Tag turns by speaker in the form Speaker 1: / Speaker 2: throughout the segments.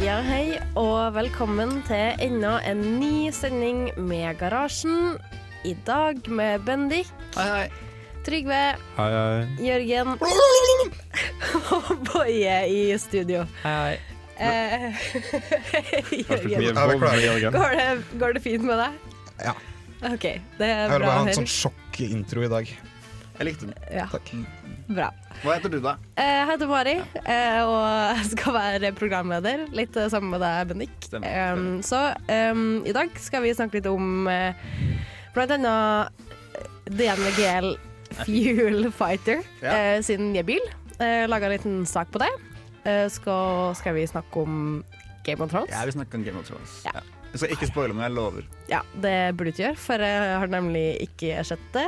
Speaker 1: Ja, hei, og velkommen til enda en ny sending med Garasjen. I dag med Bendik,
Speaker 2: Hei, hei.
Speaker 1: Trygve, Jørgen og Boje i studio.
Speaker 2: hei, hei.
Speaker 1: Eh, Jørgen,
Speaker 3: Jeg beklager.
Speaker 1: går det, går det fint med deg?
Speaker 3: Ja.
Speaker 1: OK, det
Speaker 3: Jeg
Speaker 1: er
Speaker 3: ville
Speaker 1: bra
Speaker 3: bare ha
Speaker 1: å
Speaker 3: en sånn
Speaker 1: høre.
Speaker 3: sjokkintro i dag.
Speaker 2: Jeg likte den.
Speaker 1: Ja,
Speaker 3: Takk.
Speaker 1: bra.
Speaker 2: Hva heter du, da?
Speaker 1: Eh, Jeg heter Mari, eh, og jeg skal være programleder. Litt eh, sammen med deg, Bendik.
Speaker 2: Stemmer,
Speaker 1: Em, Så em, i dag skal vi snakke litt om eh, blant annet DNV GL Fuel Fighter
Speaker 2: Ja.
Speaker 1: eh, sin nye bil. Eh, Laga en liten sak på det. Eh, Skal, skal vi snakke om Game of Thrones?
Speaker 2: Jeg vil snakke om Game of Thrones.
Speaker 1: Ja.
Speaker 2: Ja. Jeg skal ikke spoile noe, jeg lover.
Speaker 1: Ja, det burde du ikke gjøre, for jeg har nemlig ikke sett det.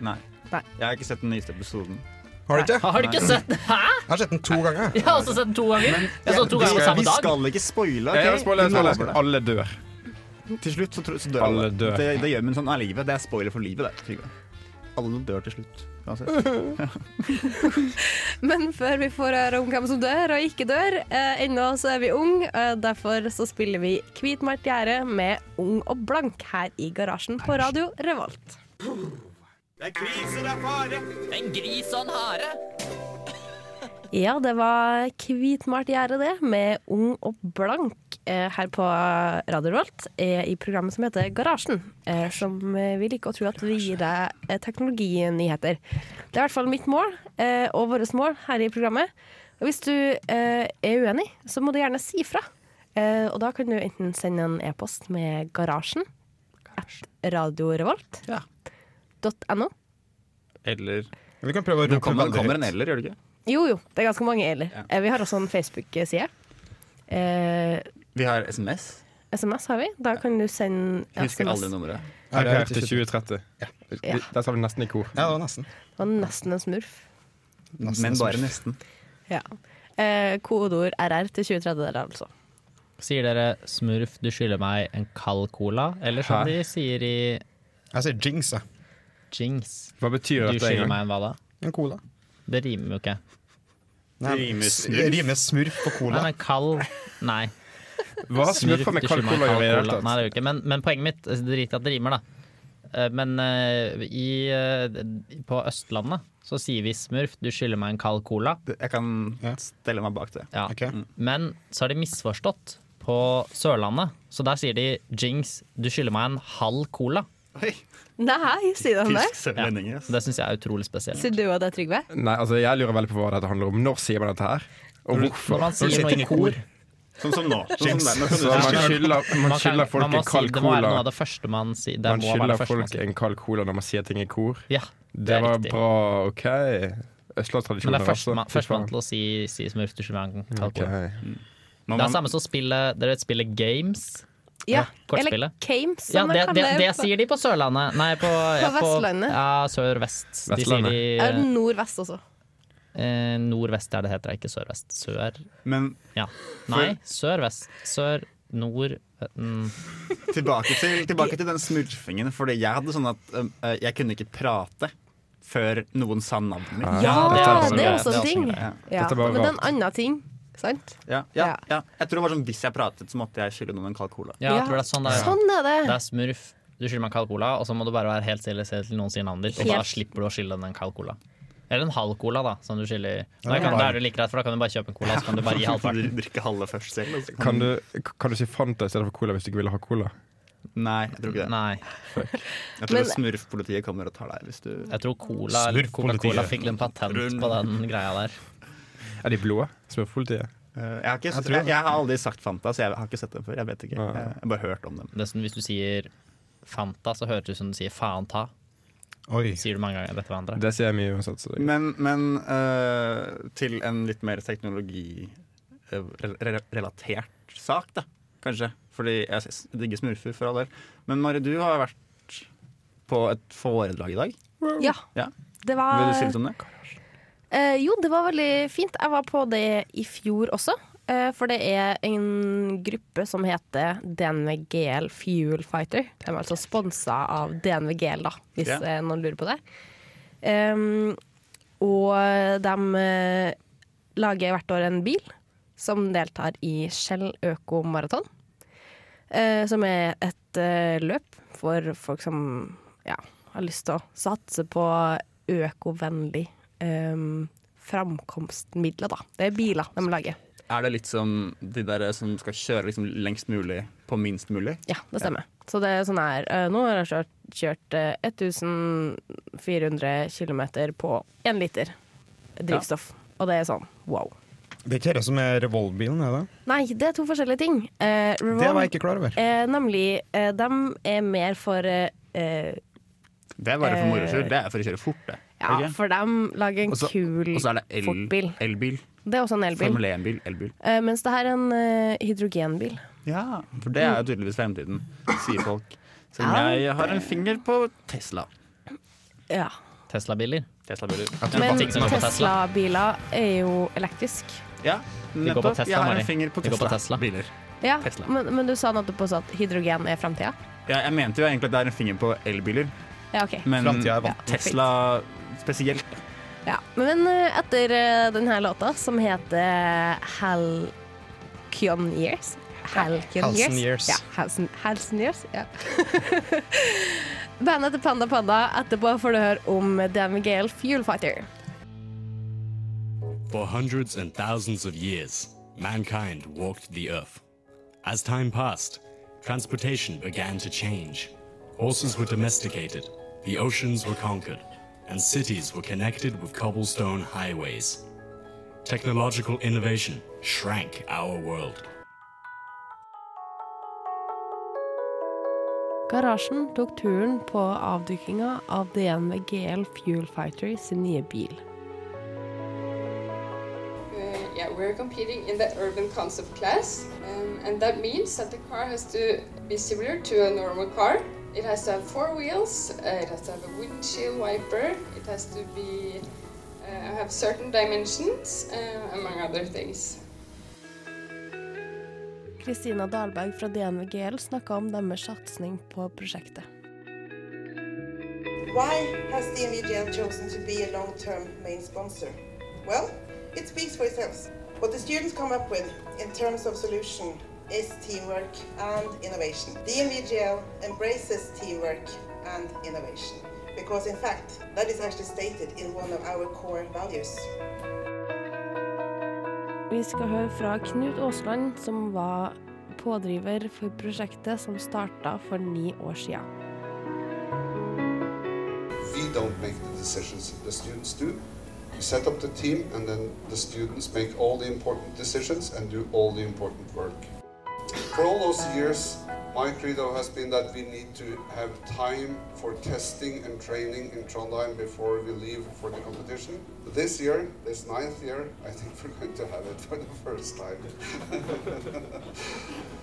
Speaker 2: Nei.
Speaker 1: Nei.
Speaker 2: Jeg har ikke sett den nyeste episoden.
Speaker 3: Har du ikke?
Speaker 4: Har du ikke sett den? Hæ?
Speaker 3: Jeg har sett den to ganger.
Speaker 4: Jeg har også sett den to ganger. Jeg så den to
Speaker 2: Vi
Speaker 4: ganger på
Speaker 2: skal,
Speaker 4: samme
Speaker 2: vi
Speaker 4: dag.
Speaker 2: skal ikke spoile. ok?
Speaker 5: Jeg vil spoile, jeg spoiler, jeg
Speaker 2: Vi
Speaker 5: spoiler.
Speaker 2: lover
Speaker 5: Alle dør.
Speaker 2: det. Til slutt så, tr- så dør
Speaker 5: Alle
Speaker 2: alle.
Speaker 5: dør.
Speaker 2: Det, det gjør man sånn av livet. Det er spoiler for livet, det. Trygve. Alle dør til slutt. uansett.
Speaker 1: Men før vi får høre om hvem som dør og ikke dør, eh, ennå så er vi ung, eh, derfor så spiller vi Hvitmalt gjerde med Ung og blank her i garasjen på Radio Revolt.
Speaker 4: En gris og en hare.
Speaker 1: Ja, det var Hvitmalt gjerde det, med Ung og blank eh, her på Radio Revolt eh, i programmet som heter Garasjen, eh, som eh, vi liker å tro at vi gir deg eh, teknologinyheter. Det er i hvert fall mitt mål, eh, og vårt mål her i programmet. Og hvis du eh, er uenig, så må du gjerne si fra. Eh, og da kan du enten sende en e-post med garasjen at radiorevolt.no.
Speaker 2: Ja. Eller
Speaker 3: Vi kan prøve å
Speaker 2: Det
Speaker 3: rope
Speaker 2: kommer,
Speaker 3: veldig
Speaker 2: det kommer en
Speaker 3: høyt.
Speaker 2: eller, gjør det ikke?
Speaker 1: Jo jo, det er ganske mange eller.
Speaker 2: Ja.
Speaker 1: Eh, vi har også en Facebook-side. Eh,
Speaker 2: Vi har SMS.
Speaker 1: SMS har vi. Da kan du sende
Speaker 2: Jeg husker
Speaker 1: SMS.
Speaker 2: aldri nummeret.
Speaker 3: Ja, det er
Speaker 5: Erklært til
Speaker 3: ikke-
Speaker 5: 2030.
Speaker 1: Ja.
Speaker 5: Vi- Der sa vi nesten i kor.
Speaker 3: Ja, det var nesten.
Speaker 1: Det var nesten en smurf.
Speaker 3: nesten
Speaker 2: Men
Speaker 3: nesten.
Speaker 2: bare nesten.
Speaker 1: Ja. Eh, kodeord RR til 2030 der, altså.
Speaker 4: Sier dere 'smurf, du skylder meg en kald cola'? Eller som
Speaker 5: Hæ?
Speaker 4: de sier i
Speaker 3: Jeg sier jinx, jeg.
Speaker 4: Jings.
Speaker 5: Hva betyr
Speaker 4: Du
Speaker 5: dette?
Speaker 4: skylder
Speaker 5: egentlig?
Speaker 4: meg en hva da?
Speaker 3: En cola.
Speaker 4: Det rimer jo ikke.
Speaker 3: Nei,
Speaker 2: Rimer
Speaker 3: s-
Speaker 2: smurf.
Speaker 3: Rimer smurf på
Speaker 4: Nei,
Speaker 3: cola.
Speaker 4: men kald Nei.
Speaker 5: Hva har smurfer med
Speaker 4: du skylder
Speaker 5: kald
Speaker 4: meg
Speaker 5: cola å gjøre
Speaker 4: kald cola.
Speaker 5: i det hele
Speaker 4: Nei,
Speaker 5: tatt?
Speaker 4: det gjør ikke. Men, men poenget mitt Drit i at det rimer, da. Eh, Men eh, i, eh, på Østlandet så sier vi 'smurf, du skylder meg en kald cola'.
Speaker 2: Det- Jeg kan
Speaker 3: Ja.
Speaker 2: stelle meg bak det.
Speaker 4: Ja.
Speaker 3: Ok.
Speaker 5: Mm.
Speaker 4: Men så har de misforstått på Sørlandet, så der sier de 'Jings, du skylder meg en halv cola'.
Speaker 2: Oi,
Speaker 1: Nei, sier han det?
Speaker 2: tysk sørlending, ass.
Speaker 4: Så det syns jeg er utrolig spesielt.
Speaker 1: Sier du og det, Trygve?
Speaker 5: Nei, altså, jeg lurer veldig på hva dette handler om. Når sier man dette her? Og
Speaker 4: Når
Speaker 5: hvorfor?
Speaker 4: man sier
Speaker 3: sitter
Speaker 4: noe
Speaker 3: inn i
Speaker 4: i
Speaker 3: kor.
Speaker 4: kor
Speaker 2: Sånn som nå. Sånn som
Speaker 3: Jinx.
Speaker 2: der. Nå kan du
Speaker 5: Så man
Speaker 2: ikke-
Speaker 5: skylder,
Speaker 4: man
Speaker 5: man
Speaker 4: kan-
Speaker 5: skylder folk
Speaker 4: man må
Speaker 5: en kald
Speaker 4: si, Det må være noe
Speaker 5: cola.
Speaker 4: av det første man sier. Det
Speaker 5: Man
Speaker 4: må være
Speaker 5: skylder
Speaker 4: det første man
Speaker 5: folk
Speaker 4: sier.
Speaker 5: en kald cola når man sier ting i kor.
Speaker 4: Ja, det
Speaker 5: Det
Speaker 4: er
Speaker 5: var
Speaker 4: riktig.
Speaker 5: bra, OK.
Speaker 4: Men
Speaker 5: Østlandstradisjoner,
Speaker 4: det er førstemann
Speaker 5: Fy
Speaker 4: første
Speaker 5: faen.
Speaker 4: til å si, si smurf til sjømann.
Speaker 2: Når
Speaker 5: Ok.
Speaker 4: Det er
Speaker 2: man-
Speaker 4: samme som spillet Dere vet spillet Games?
Speaker 1: Ja. Eller
Speaker 4: Kortspillet.
Speaker 1: Kames,
Speaker 4: Ja,
Speaker 1: som
Speaker 4: det,
Speaker 1: jeg
Speaker 4: det,
Speaker 1: kaller
Speaker 4: det sier de på Sørlandet. Nei, på, ja, på
Speaker 1: Vestlandet.
Speaker 4: Ja, sør-vest. De sier
Speaker 5: Vestlandet.
Speaker 4: de
Speaker 1: Er det nordvest også.
Speaker 4: eh, nordvest, er det heter, ikke sør-vest. Sør
Speaker 2: Men
Speaker 4: Ja. Nei, sør-vest. Sør, nord mm.
Speaker 2: tilbake til, tilbake til den smurfingen. Fordi jeg hadde sånn at um, eh, jeg kunne ikke prate før noen sa navnet mitt.
Speaker 1: Ja,
Speaker 5: dette er også
Speaker 1: det er
Speaker 5: greit.
Speaker 1: også en ting.
Speaker 2: Ja.
Speaker 1: Ja.
Speaker 5: Dette er bare
Speaker 1: Men det er en
Speaker 5: rart.
Speaker 1: annen ting, sant?
Speaker 2: Ja, ja,
Speaker 1: Ja.
Speaker 2: ja. Jeg tror det var sånn hvis jeg pratet, så måtte jeg skylde noen en kald cola.
Speaker 4: Ja, jeg tror det er sånn det er.
Speaker 1: Sånn er
Speaker 4: Det
Speaker 1: det.
Speaker 4: er smurf. Du skylder meg en kald cola, og så må du bare være helt stille selv til noen sier navnet ditt. Og da
Speaker 1: Helt.
Speaker 4: slipper du å skylde den en kald cola. Eller en halv cola, da, som du skylder. Da,
Speaker 3: Ja,
Speaker 4: kan,
Speaker 3: bare-
Speaker 4: da er det like greit, for da kan du bare kjøpe en cola, så kan du bare gi halvparten.
Speaker 2: Drikke halve først selv. og så kan-
Speaker 5: Kan du, kan du si Fanta i stedet for cola hvis du ikke ville ha cola?
Speaker 2: Nei, jeg tror ikke det.
Speaker 4: Nei.
Speaker 2: Jeg tror
Speaker 1: Men-
Speaker 2: smurfpolitiet kommer og tar deg hvis du
Speaker 4: Jeg tror cola eller
Speaker 3: Smurfpolitiet.
Speaker 4: Coca-Cola fikk en patent på den greia der.
Speaker 5: Er de blå? Smurfpolitiet?
Speaker 2: Eh, Jeg har, ikke,
Speaker 3: Jeg
Speaker 2: jeg,
Speaker 3: tror-
Speaker 2: jeg har aldri sagt Fanta, så jeg har ikke sett dem før. Jeg vet ikke, jeg har bare hørt om dem.
Speaker 4: Dessuten, sånn, hvis du sier Fanta, så høres det ut som du sier Fanta.
Speaker 3: Oi.
Speaker 4: Sier du mange ganger etter hverandre.
Speaker 5: Det sier jeg mye uansett. Så det,
Speaker 2: Men, men eh, til en litt mer eh, teknologirelatert sak, da, kanskje. Fordi jeg s- digger smurfer, for all del. Men Mari, du har vært på et foredrag i dag.
Speaker 1: Ja.
Speaker 2: Ja.
Speaker 1: Det var
Speaker 2: Vil du si litt om det?
Speaker 1: Eh, jo, det var veldig fint. Jeg var på det i fjor også. eh, for det er en gruppe som heter DNV GL Fuel Fighter. De er altså sponsa av DNV GL, da, hvis
Speaker 2: Ja.
Speaker 1: eh, noen lurer på det. Ehm, og de eh, lager hvert år en bil som deltar i Shell Økomaraton. eh, som er et eh, løp for folk som ja, har lyst til å satse på økovennlig eh, framkomstmidler, da. Det er biler de lager.
Speaker 2: Er det litt som de der som skal kjøre liksom lengst mulig på minst mulig?
Speaker 1: Ja, det stemmer. Så det er sånn her eh, Nå har jeg kjørt, kjørt eh, 1400 km på én liter drivstoff. Og det er sånn wow.
Speaker 3: Det er ikke det som er revolvbilen, er det?
Speaker 1: Nei, det er to forskjellige ting. Eh, Revolve
Speaker 3: Det var jeg ikke klar over.
Speaker 1: eh, Nemlig, eh, de er mer for eh, eh,
Speaker 2: Det er bare for moro
Speaker 1: Eh,
Speaker 2: skyld. Det er for å kjøre fort, det.
Speaker 1: Ja,
Speaker 2: Er det ikke?
Speaker 1: for dem lager en
Speaker 2: Og så-
Speaker 1: kul
Speaker 2: Og så er det el-
Speaker 1: fortbil.
Speaker 2: elbil.
Speaker 1: Det er også en elbil.
Speaker 2: Formel 1-bil. Elbil.
Speaker 1: Eh, mens det her er en eh, hydrogenbil.
Speaker 2: Ja, for det er jo tydeligvis fremtiden, sier folk. Selv om
Speaker 1: Ja.
Speaker 2: jeg har en finger på Tesla.
Speaker 1: Ja.
Speaker 4: Tesla-biler.
Speaker 2: Tesla-biler.
Speaker 1: Men
Speaker 4: Ting som går på Tesla.
Speaker 1: Tesla-biler er jo elektrisk.
Speaker 2: Ja,
Speaker 4: går på
Speaker 2: nettopp.
Speaker 4: Tesla,
Speaker 2: jeg har
Speaker 4: Mari.
Speaker 2: en finger på
Speaker 4: Vi går på Tesla.
Speaker 2: Tesla-biler.
Speaker 1: Ja,
Speaker 2: Tesla.
Speaker 1: men, men du sa nettopp også at hydrogen er framtida?
Speaker 2: Ja, jeg mente jo egentlig at det er en finger på elbiler,
Speaker 1: Ja, OK.
Speaker 2: men
Speaker 3: Fremtiden er vann.
Speaker 2: Tesla spesielt.
Speaker 1: Ja. Men eh, etter eh, denne låta, som heter Halcyon Years Halcyon
Speaker 3: Halcyon Years.
Speaker 1: Ja, Halcyon, Halcyon Years. Ja. Bandet heter Panda Panda. Etterpå får du høre om Dan Gale Fuel Fighter.
Speaker 6: For hundreds and thousands of years, mankind walked the earth. As time passed, transportation began to change. Horses were domesticated, the oceans were conquered, and cities were connected with cobblestone highways. Technological innovation shrank our world.
Speaker 1: Garasjen tok turen på avdukkinga av DNV GL Fuel Fighter sin nye bil.
Speaker 7: Uh, yeah, we're competing in the urban concept class, um, and that means that the car has to be similar to a normal car. It has to have four wheels, uh, it has to have a windshield wiper, it has to be uh, have certain dimensions, uh, among other things.
Speaker 1: Kristina Dahlberg fra DNV GL snakka om deres satsing på prosjektet.
Speaker 8: Why has DMVGL chosen to be a long-term main sponsor? Well, it speaks for itself. What the students come up with in terms of solution is teamwork and innovation. DMVGL embraces teamwork and innovation because in fact that is actually stated in one of our core values.
Speaker 1: Vi skal høre fra Knut Aasland, som var pådriver for prosjektet som starta for ni år sia.
Speaker 9: We don't make the decisions, the students do. We set up the team and then the students make all the important decisions and do all the important work. For all those years, my credo has been that we need to have time for testing and training in Trondheim before we leave for the competition. This year, this ninth year, I think we're going to have it for the first time.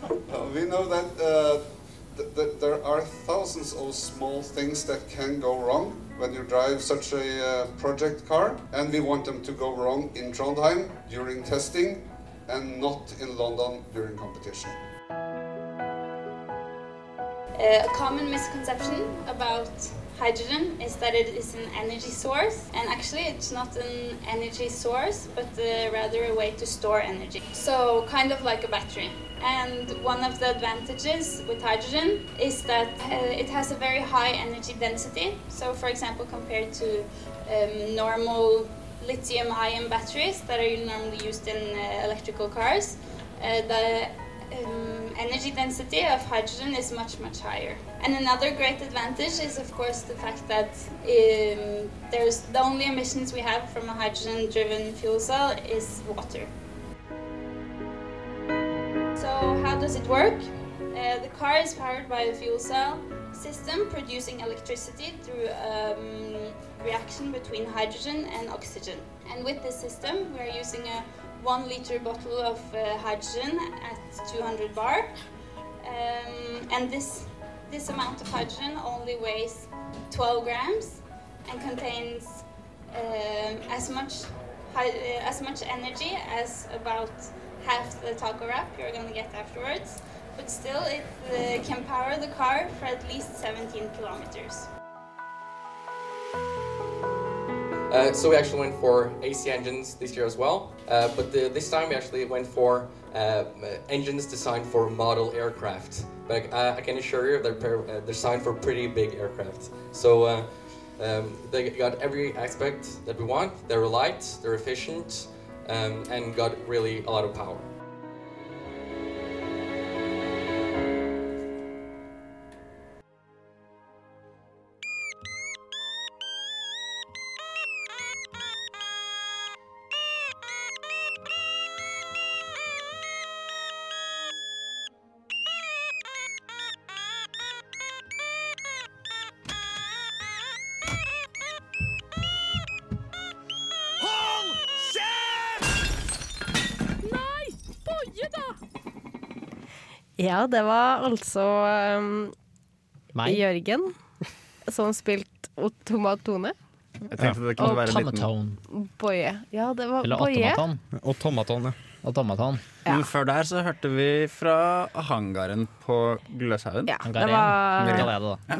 Speaker 9: Uh, we know that uh, th- th- there are thousands of small things that can go wrong when you drive such a uh, project car, and we want them to go wrong in Trondheim during testing and not in London during competition.
Speaker 10: A common misconception about hydrogen is that it is an energy source, and actually, it's not an energy source, but uh, rather a way to store energy. So, kind of like a battery. And one of the advantages with hydrogen is that uh, it has a very high energy density. So, for example, compared to um, normal lithium ion batteries that are normally used in uh, electrical cars, uh, the um, energy density of hydrogen is much much higher and another great advantage is of course the fact that um, there's the only emissions we have from a hydrogen driven fuel cell is water So how does it work? Uh, the car is powered by a fuel cell system producing electricity through um, reaction between hydrogen and oxygen. And with this system, we're using a one liter bottle of uh, hydrogen at 200 bar. Um, and this, this amount of hydrogen only weighs 12 grams and contains um, as much hy- uh, as much energy as about half the taco wrap you're gonna get afterwards. But still, it uh, can power the car for at least 17 kilometers.
Speaker 11: Uh, so we actually went for AC engines this year as well, uh, but the, this time we actually went for uh, engines designed for model aircraft. But I, I can assure you they're per- uh, designed for pretty big aircraft. So uh, um, they got every aspect that we want. They were light, they're efficient, um, and got really a lot of power.
Speaker 12: Hold kjeft!
Speaker 1: Nei! Boje, da! Ja, det var altså um,
Speaker 4: Meg?
Speaker 1: Jørgen som spilte Otomat Tone.
Speaker 2: Jeg tenkte det kunne
Speaker 4: Og
Speaker 2: være en liten
Speaker 4: Tomatone.
Speaker 1: Boje. Ja, det var
Speaker 2: Eller
Speaker 1: Boje.
Speaker 2: automaton.
Speaker 3: Og tomaton, ja.
Speaker 2: Men før der så hørte vi fra hangaren på Gløshaugen.
Speaker 1: Ja, det var, det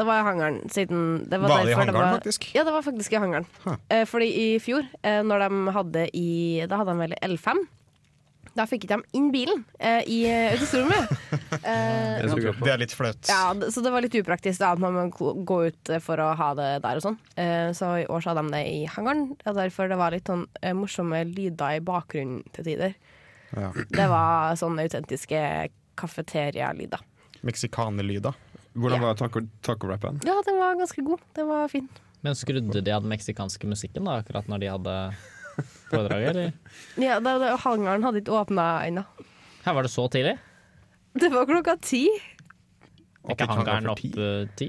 Speaker 1: var i hangaren siden det var,
Speaker 2: Var det i
Speaker 1: derfor
Speaker 2: hangaren,
Speaker 1: var,
Speaker 2: faktisk?
Speaker 1: Ja, det var faktisk i hangaren. Eh, fordi i fjor, eh, når de hadde i Da hadde de vel L5. Da fikk ikke de inn bilen eh, i eh, auditoriet. Eh,
Speaker 3: Det er litt flaut.
Speaker 1: ja, d- så det var litt upraktisk da, at man må gå- gå ut eh, for å ha det der og sånn. Eh, så i år så hadde de det i hangaren, og derfor det var litt sånn eh, morsomme lyder i bakgrunnen til tider.
Speaker 3: Ja.
Speaker 1: Det var sånne autentiske kafeteria-lyder.
Speaker 3: Meksikanerlyda.
Speaker 5: Hvordan var taco- taco-rappen?
Speaker 1: Ja, den var ganske god. Den var fin.
Speaker 4: Men skrudde de av den meksikanske musikken da, akkurat når de hadde foredraget, eller?
Speaker 1: Ja, da, da, Hangaren hadde ikke åpna ennå.
Speaker 4: Her var det så tidlig?
Speaker 1: Det var klokka ti.
Speaker 4: Er ikke hangaren oppe ti?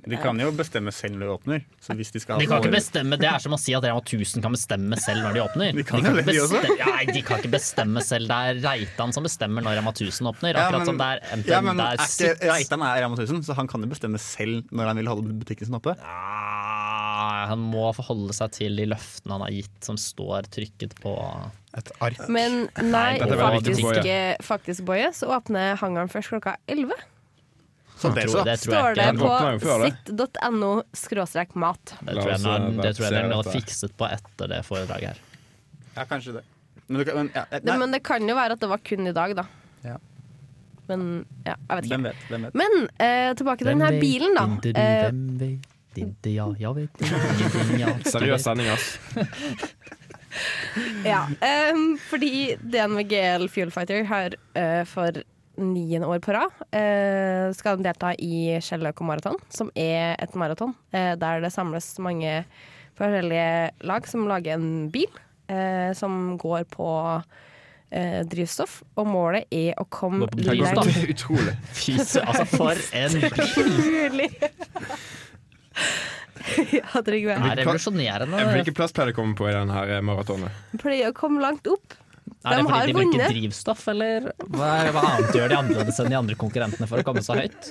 Speaker 2: De kan jo bestemme selv når de åpner. Så hvis de skal ha
Speaker 4: De kan
Speaker 2: noe-
Speaker 4: ikke bestemme, Det er som å si at Rema 1000 kan bestemme selv når de åpner. De
Speaker 2: kan
Speaker 4: ikke
Speaker 2: det, de også.
Speaker 4: bestemme, Nei, de kan ikke bestemme selv. Det er Reitan som bestemmer når Rema 1000 åpner.
Speaker 2: Ja,
Speaker 4: Akkurat
Speaker 2: men-
Speaker 4: som det er MTN.
Speaker 2: ja, men
Speaker 4: det
Speaker 2: er
Speaker 4: er
Speaker 2: ikke
Speaker 4: sitt.
Speaker 2: Reitan er Rema 1000, så han kan jo bestemme selv når han vil holde butikken sin oppe.
Speaker 4: Ah, Han må forholde seg til de løftene han har gitt, som står trykket på
Speaker 3: Et ark.
Speaker 1: Men nei,
Speaker 4: dette var
Speaker 1: faktisk,
Speaker 4: viktig.
Speaker 1: ikke- faktisk Boje, så åpner hangaren først klokka elleve.
Speaker 4: Så det, så. Det
Speaker 1: Står
Speaker 4: tror jeg ikke.
Speaker 1: det
Speaker 4: Den åpner jo
Speaker 1: på
Speaker 4: før det.
Speaker 1: sitt.no skråstrek mat.
Speaker 4: Det tror jeg,
Speaker 2: La oss,
Speaker 4: den-
Speaker 2: eh,
Speaker 4: det tror jeg
Speaker 2: se
Speaker 4: den har
Speaker 2: dette.
Speaker 4: fikset på etter det foredraget her.
Speaker 2: Ja, kanskje det. Men, du kan, men, ja, eh,
Speaker 1: Det,
Speaker 2: nei,
Speaker 1: men det kan jo være at det var kun i dag, da.
Speaker 2: Ja.
Speaker 1: Men ja, jeg vet ikke.
Speaker 2: hvem vet? Hvem vet?
Speaker 1: Men eh, tilbake til den her bilen, da. Eh,
Speaker 5: Seriøs sending, ass.
Speaker 1: ja, ehm, fordi DNV GL Fuel Fighter har eh, for niende år på rad eh, skal de delta i Skjelløko-maraton, som er et maraton eh, der det samles mange forskjellige lag som lager en bil eh, som går på eh, drivstoff, og målet er å komme
Speaker 5: Det er utrolig.
Speaker 4: Fy søren, altså for en
Speaker 1: Utrolig! ja, Trygve.
Speaker 4: Det er revolusjonerende.
Speaker 5: Eh, Hvilken plass pleier du å komme på i den her eh, maratonen?
Speaker 1: Pleier å komme langt opp.
Speaker 4: Er det
Speaker 1: De har
Speaker 4: fordi de bruker
Speaker 1: vunnet.
Speaker 4: drivstoff, eller hva, er- hva annet gjør de annerledes enn de andre konkurrentene for å komme så høyt?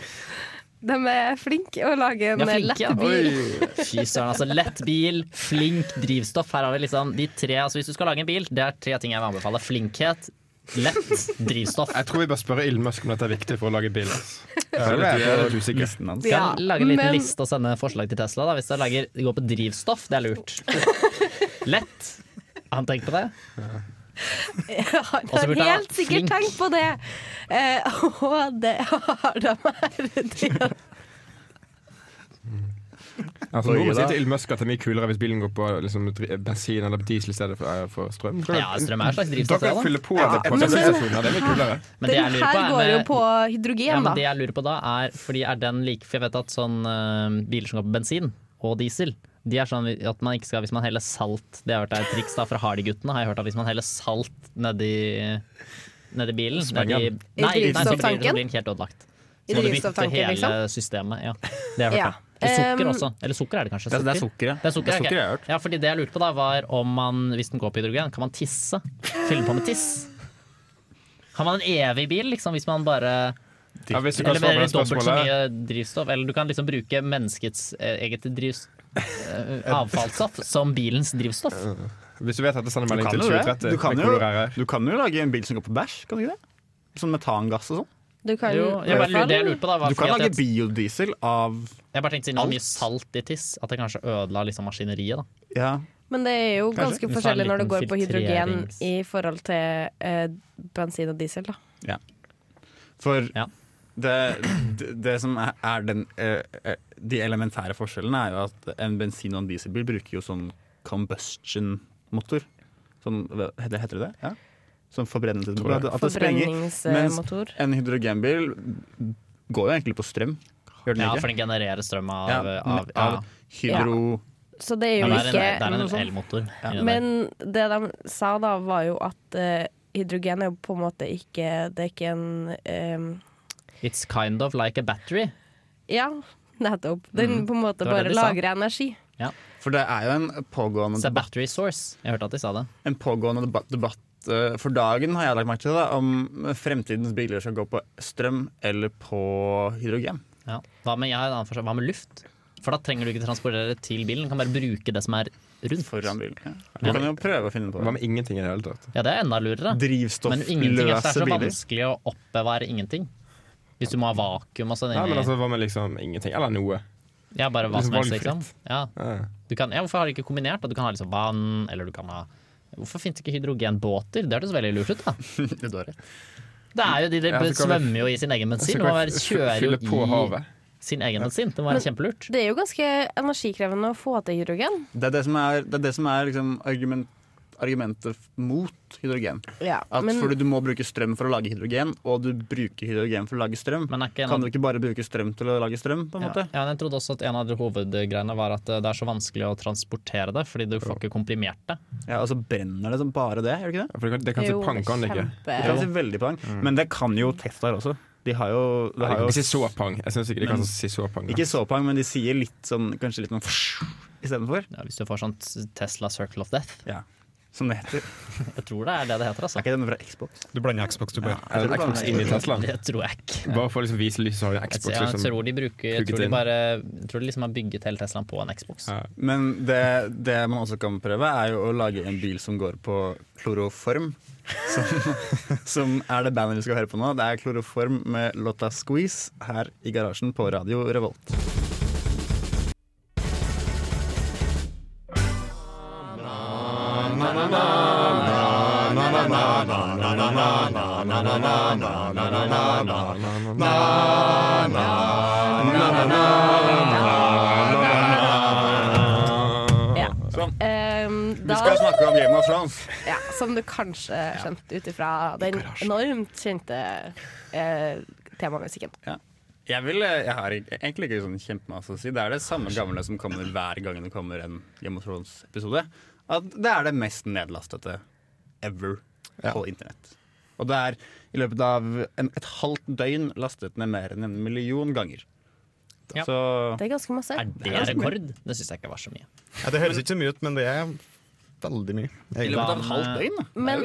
Speaker 1: De er flinke å lage en
Speaker 4: Ja, flink, ja.
Speaker 1: lett bil.
Speaker 4: Fy søren, altså. Lett bil, flink drivstoff. Her har vi liksom de tre altså Hvis du skal lage en bil, det er tre ting jeg vil anbefale. Flinkhet, lett drivstoff.
Speaker 5: Jeg tror vi bør spørre Elon Musk om dette er viktig for å lage bil. ass. Jeg
Speaker 4: Ja,
Speaker 5: er litt- jeg er litt
Speaker 2: det er
Speaker 5: usikker.
Speaker 2: listen hans.
Speaker 4: Skal
Speaker 1: Ja,
Speaker 4: jeg lage en liten
Speaker 1: men-
Speaker 4: liste og sende forslag til Tesla da, hvis jeg lager, går på drivstoff. Det er lurt. Lett. Har han tenkt på det?
Speaker 1: Han
Speaker 4: Og så
Speaker 1: har
Speaker 4: burde jeg
Speaker 1: helt
Speaker 4: vært
Speaker 1: sikkert
Speaker 4: flink.
Speaker 1: tenkt på det! Eh, og det har de her. Det-
Speaker 5: Altså, nå
Speaker 2: Oi,
Speaker 5: må
Speaker 2: da.
Speaker 5: si til Elon Musk at det er mye kulere hvis bilen går på liksom, dri- bensin eller diesel i stedet for, eh, for strøm.
Speaker 4: Ja, strøm er et slags drivstoff,
Speaker 5: Dere
Speaker 4: det, da.
Speaker 5: fyller på
Speaker 4: Ja,
Speaker 5: det på
Speaker 4: men-
Speaker 5: bensinstasjoner, det er mye kulere.
Speaker 4: Men det jeg
Speaker 1: Den
Speaker 4: lurer på
Speaker 1: her
Speaker 4: er
Speaker 1: går jo
Speaker 4: med-
Speaker 1: på hydrogen,
Speaker 4: Ja,
Speaker 1: da.
Speaker 4: men det jeg lurer på da er Fordi er den like For jeg vet at sånn eh, biler som går på bensin og diesel de er sånn at man ikke skal, Hvis man heller salt Det har jeg hørt er et triks da fra Hardy-guttene. har jeg hørt at Hvis man heller salt nedi nedi bilen.
Speaker 3: Spengen.
Speaker 4: Nedi,
Speaker 1: I
Speaker 4: nei, nei, så blir
Speaker 1: drivstofftanken?
Speaker 4: det blir helt ødelagt.
Speaker 1: I
Speaker 4: Så må du bytte
Speaker 1: drivstofftanken,
Speaker 4: hele
Speaker 1: liksom?
Speaker 4: systemet. Ja, det har jeg hørt.
Speaker 1: Ja.
Speaker 4: ja. Og sukker
Speaker 1: Um,
Speaker 4: også. Eller sukker er det kanskje?
Speaker 2: Det er- det er sukker, ja.
Speaker 4: Det er sukker,
Speaker 2: Det er sukker
Speaker 4: ok.
Speaker 2: jeg har hørt.
Speaker 4: Ja, fordi det jeg lurte på da, var om man, hvis den går på hydrogen, kan man tisse? Fylle på med tiss? Har man en evig bil, liksom, hvis man bare
Speaker 5: Ja, hvis du kan
Speaker 4: Eller
Speaker 5: svare på
Speaker 4: mer
Speaker 5: det
Speaker 4: dobbelt så
Speaker 5: spørsmålet.
Speaker 4: mye drivstoff. Eller du kan liksom bruke menneskets eh, eget drivs... eh, avfallsstoff som bilens drivstoff.
Speaker 5: Hvis du vet at det sender melding
Speaker 2: kan
Speaker 5: til
Speaker 2: jo det.
Speaker 5: 2030
Speaker 2: Du kan
Speaker 5: med
Speaker 2: jo-
Speaker 5: kolorærer.
Speaker 2: Du kan jo lage en bil som går på bæsj, kan du ikke det? Sånn metangass og sånn.
Speaker 1: Du kan
Speaker 4: Jo, jeg bare lurer- det jeg lurer på da, var
Speaker 2: Du kan
Speaker 4: fordi at
Speaker 2: lage
Speaker 4: jeg-
Speaker 2: biodiesel av
Speaker 4: Jeg bare tenkte siden det var mye
Speaker 2: Alt.
Speaker 4: salt i tiss, at det kanskje ødela liksom maskineriet. da.
Speaker 2: ja.
Speaker 1: Men det er jo
Speaker 4: Kanskje.
Speaker 1: ganske
Speaker 4: Hvis det er en
Speaker 1: forskjellig når det
Speaker 4: liten
Speaker 1: går på hydrogen
Speaker 4: sånn filtrerings-
Speaker 1: i forhold til eh, bensin og diesel, da.
Speaker 2: For det, det, det som er, er den eh, eh, De elementære forskjellene er jo at en bensin- og en dieselbil bruker jo sånn combustion-motor. Sånn, hva- heter heter det det? Ja? Sånn
Speaker 1: Tror
Speaker 2: forbrennelsesmotor.
Speaker 1: jeg.
Speaker 2: At, at det sprenger.
Speaker 1: Forbrenningsmotor.
Speaker 2: Mens en hydrogenbil går jo egentlig på strøm. Gjør den
Speaker 4: Ja,
Speaker 2: ikke?
Speaker 4: for den genererer strøm av,
Speaker 2: Ja,
Speaker 4: av,
Speaker 2: av
Speaker 4: ja.
Speaker 2: hydro...
Speaker 1: Så det er jo
Speaker 4: Men det er en-
Speaker 1: ikke
Speaker 4: det er en
Speaker 1: noe sånt.
Speaker 4: elmotor inni der.
Speaker 1: Men det de sa da, var jo at eh, hydrogen er jo på en måte ikke Det er ikke en eh,
Speaker 4: It's kind of like a battery.
Speaker 1: Ja, nettopp. Den
Speaker 4: Mm.
Speaker 1: på en måte
Speaker 4: Det
Speaker 1: bare
Speaker 4: var det de sa.
Speaker 1: lagrer energi.
Speaker 2: For det er jo en pågående
Speaker 4: It's a battery source. Jeg hørte at de sa det.
Speaker 2: en pågående deba- debatt eh, for dagen, har jeg lagt merke til, da, om fremtidens biler skal gå på strøm eller på hydrogen.
Speaker 4: Ja. Hva, med, jeg har et annet forslag. Hva med luft? For da trenger du ikke transportere det til bilen, du kan bare bruke det som er rundt.
Speaker 2: Foran bilen, ja. Du kan jo prøve å finne på det.
Speaker 5: Hva med ingenting i det hele tatt?
Speaker 4: Ja, det er enda lurere. Men ingenting er så, det er så
Speaker 5: Drivstoffløse biler.
Speaker 4: vanskelig å oppbevare ingenting. Hvis du må ha vakuum og sånn.
Speaker 5: Nei,
Speaker 4: inni-
Speaker 5: men altså, hva med liksom ingenting? Eller noe.
Speaker 4: Ja, bare hva
Speaker 5: Liksom
Speaker 4: som helst, liksom.
Speaker 5: valgfritt.
Speaker 4: Ja. Du kan, ja, hvorfor har de ikke kombinert? At du kan ha liksom vann, eller du kan ha Hvorfor finnes det ikke hydrogenbåter? Det hørtes veldig lurt ut, da.
Speaker 2: du har rett.
Speaker 4: Det er jo, de, de
Speaker 2: Ja, så kan vi-
Speaker 4: svømmer jo i sin egen bensin.
Speaker 2: så
Speaker 4: Du
Speaker 2: kan
Speaker 4: må
Speaker 2: vi
Speaker 4: være,
Speaker 2: f-
Speaker 4: kjører
Speaker 2: fylle
Speaker 4: jo
Speaker 2: på
Speaker 4: i
Speaker 2: havet.
Speaker 4: sin egen bensin. Det må
Speaker 1: Men
Speaker 4: være kjempelurt.
Speaker 1: Det er jo ganske energikrevende å få til hydrogen.
Speaker 2: Det er det som er, det er, det som er liksom argument, argumentet f- mot hydrogen.
Speaker 1: Ja,
Speaker 2: At
Speaker 1: men-
Speaker 2: fordi du må bruke strøm for å lage hydrogen, og du bruker hydrogen for å lage strøm.
Speaker 4: ikke en
Speaker 2: Kan
Speaker 4: av-
Speaker 2: du ikke bare bruke strøm til å lage strøm, på en
Speaker 4: Ja.
Speaker 2: måte?
Speaker 4: Ja, men jeg trodde også at en av de hovedgreiene var at eh, det er så vanskelig å transportere det, fordi du får ikke komprimert det.
Speaker 2: Ja, og så brenner det som bare det, gjør det ikke det?
Speaker 5: for det kan, det kan se Jo, pang, det kan det ikke? kjempe-
Speaker 2: Det kan se veldig pang, men det kan jo Tesla også. De har jo, de
Speaker 5: Nei,
Speaker 2: har
Speaker 5: det
Speaker 2: jo
Speaker 5: kan ikke si så pang. Jeg synes Mm. ikke det
Speaker 2: Men-
Speaker 5: kan si så pang. da.
Speaker 2: Ikke så pang, men de sier litt sånn, kanskje litt sånn istedenfor.
Speaker 4: Ja, hvis du får sånn Tesla Circle of Death.
Speaker 2: Ja. Som det heter.
Speaker 4: Jeg tror det er det det heter, altså.
Speaker 2: Er ikke den fra Xbox?
Speaker 3: Du blander Xbox, du bør.
Speaker 5: Er det en Xbox inni Teslaen?
Speaker 4: Det tror jeg ikke.
Speaker 5: Bare for å liksom vise lyset, så har du en Xbox.
Speaker 4: jeg
Speaker 5: liksom,
Speaker 4: tror de bruker Jeg
Speaker 5: plugget
Speaker 4: tror de
Speaker 5: inn.
Speaker 4: bare jeg tror de liksom har bygget hele Teslaen på en Xbox.
Speaker 2: Men det, det man også kan prøve, er jo å lage en bil som går på kloroform. Som, som er det bandet vi skal høre på nå. Det er kloroform med låta 'Squeeze' her i garasjen på Radio Revolt.
Speaker 1: Ja.
Speaker 2: Sånn.
Speaker 1: Ehm,
Speaker 2: Vi
Speaker 1: da-
Speaker 2: skal snakke om Game of Thrones.
Speaker 1: Ja, som du kanskje skjønte ut ifra den enormt kjente eh, temamusikken.
Speaker 2: Jeg, vil, eh, jeg har egentlig ikke sånn kjempemasse å si. Det er det samme gamle som kommer hver gang det kommer en Game of Thrones-episode. At det er det mest nedlastete ever på internett. Og det er i løpet av en, et halvt døgn lastet ned mer enn en million ganger.
Speaker 4: Ja.
Speaker 2: Så
Speaker 1: Det er ganske masse.
Speaker 4: Er det
Speaker 2: altså,
Speaker 4: rekord? Det syns jeg ikke var så mye.
Speaker 3: Ja, det høres ikke så mye ut, men det er veldig mye.
Speaker 4: I løpet av et halvt døgn,
Speaker 3: da.
Speaker 1: Men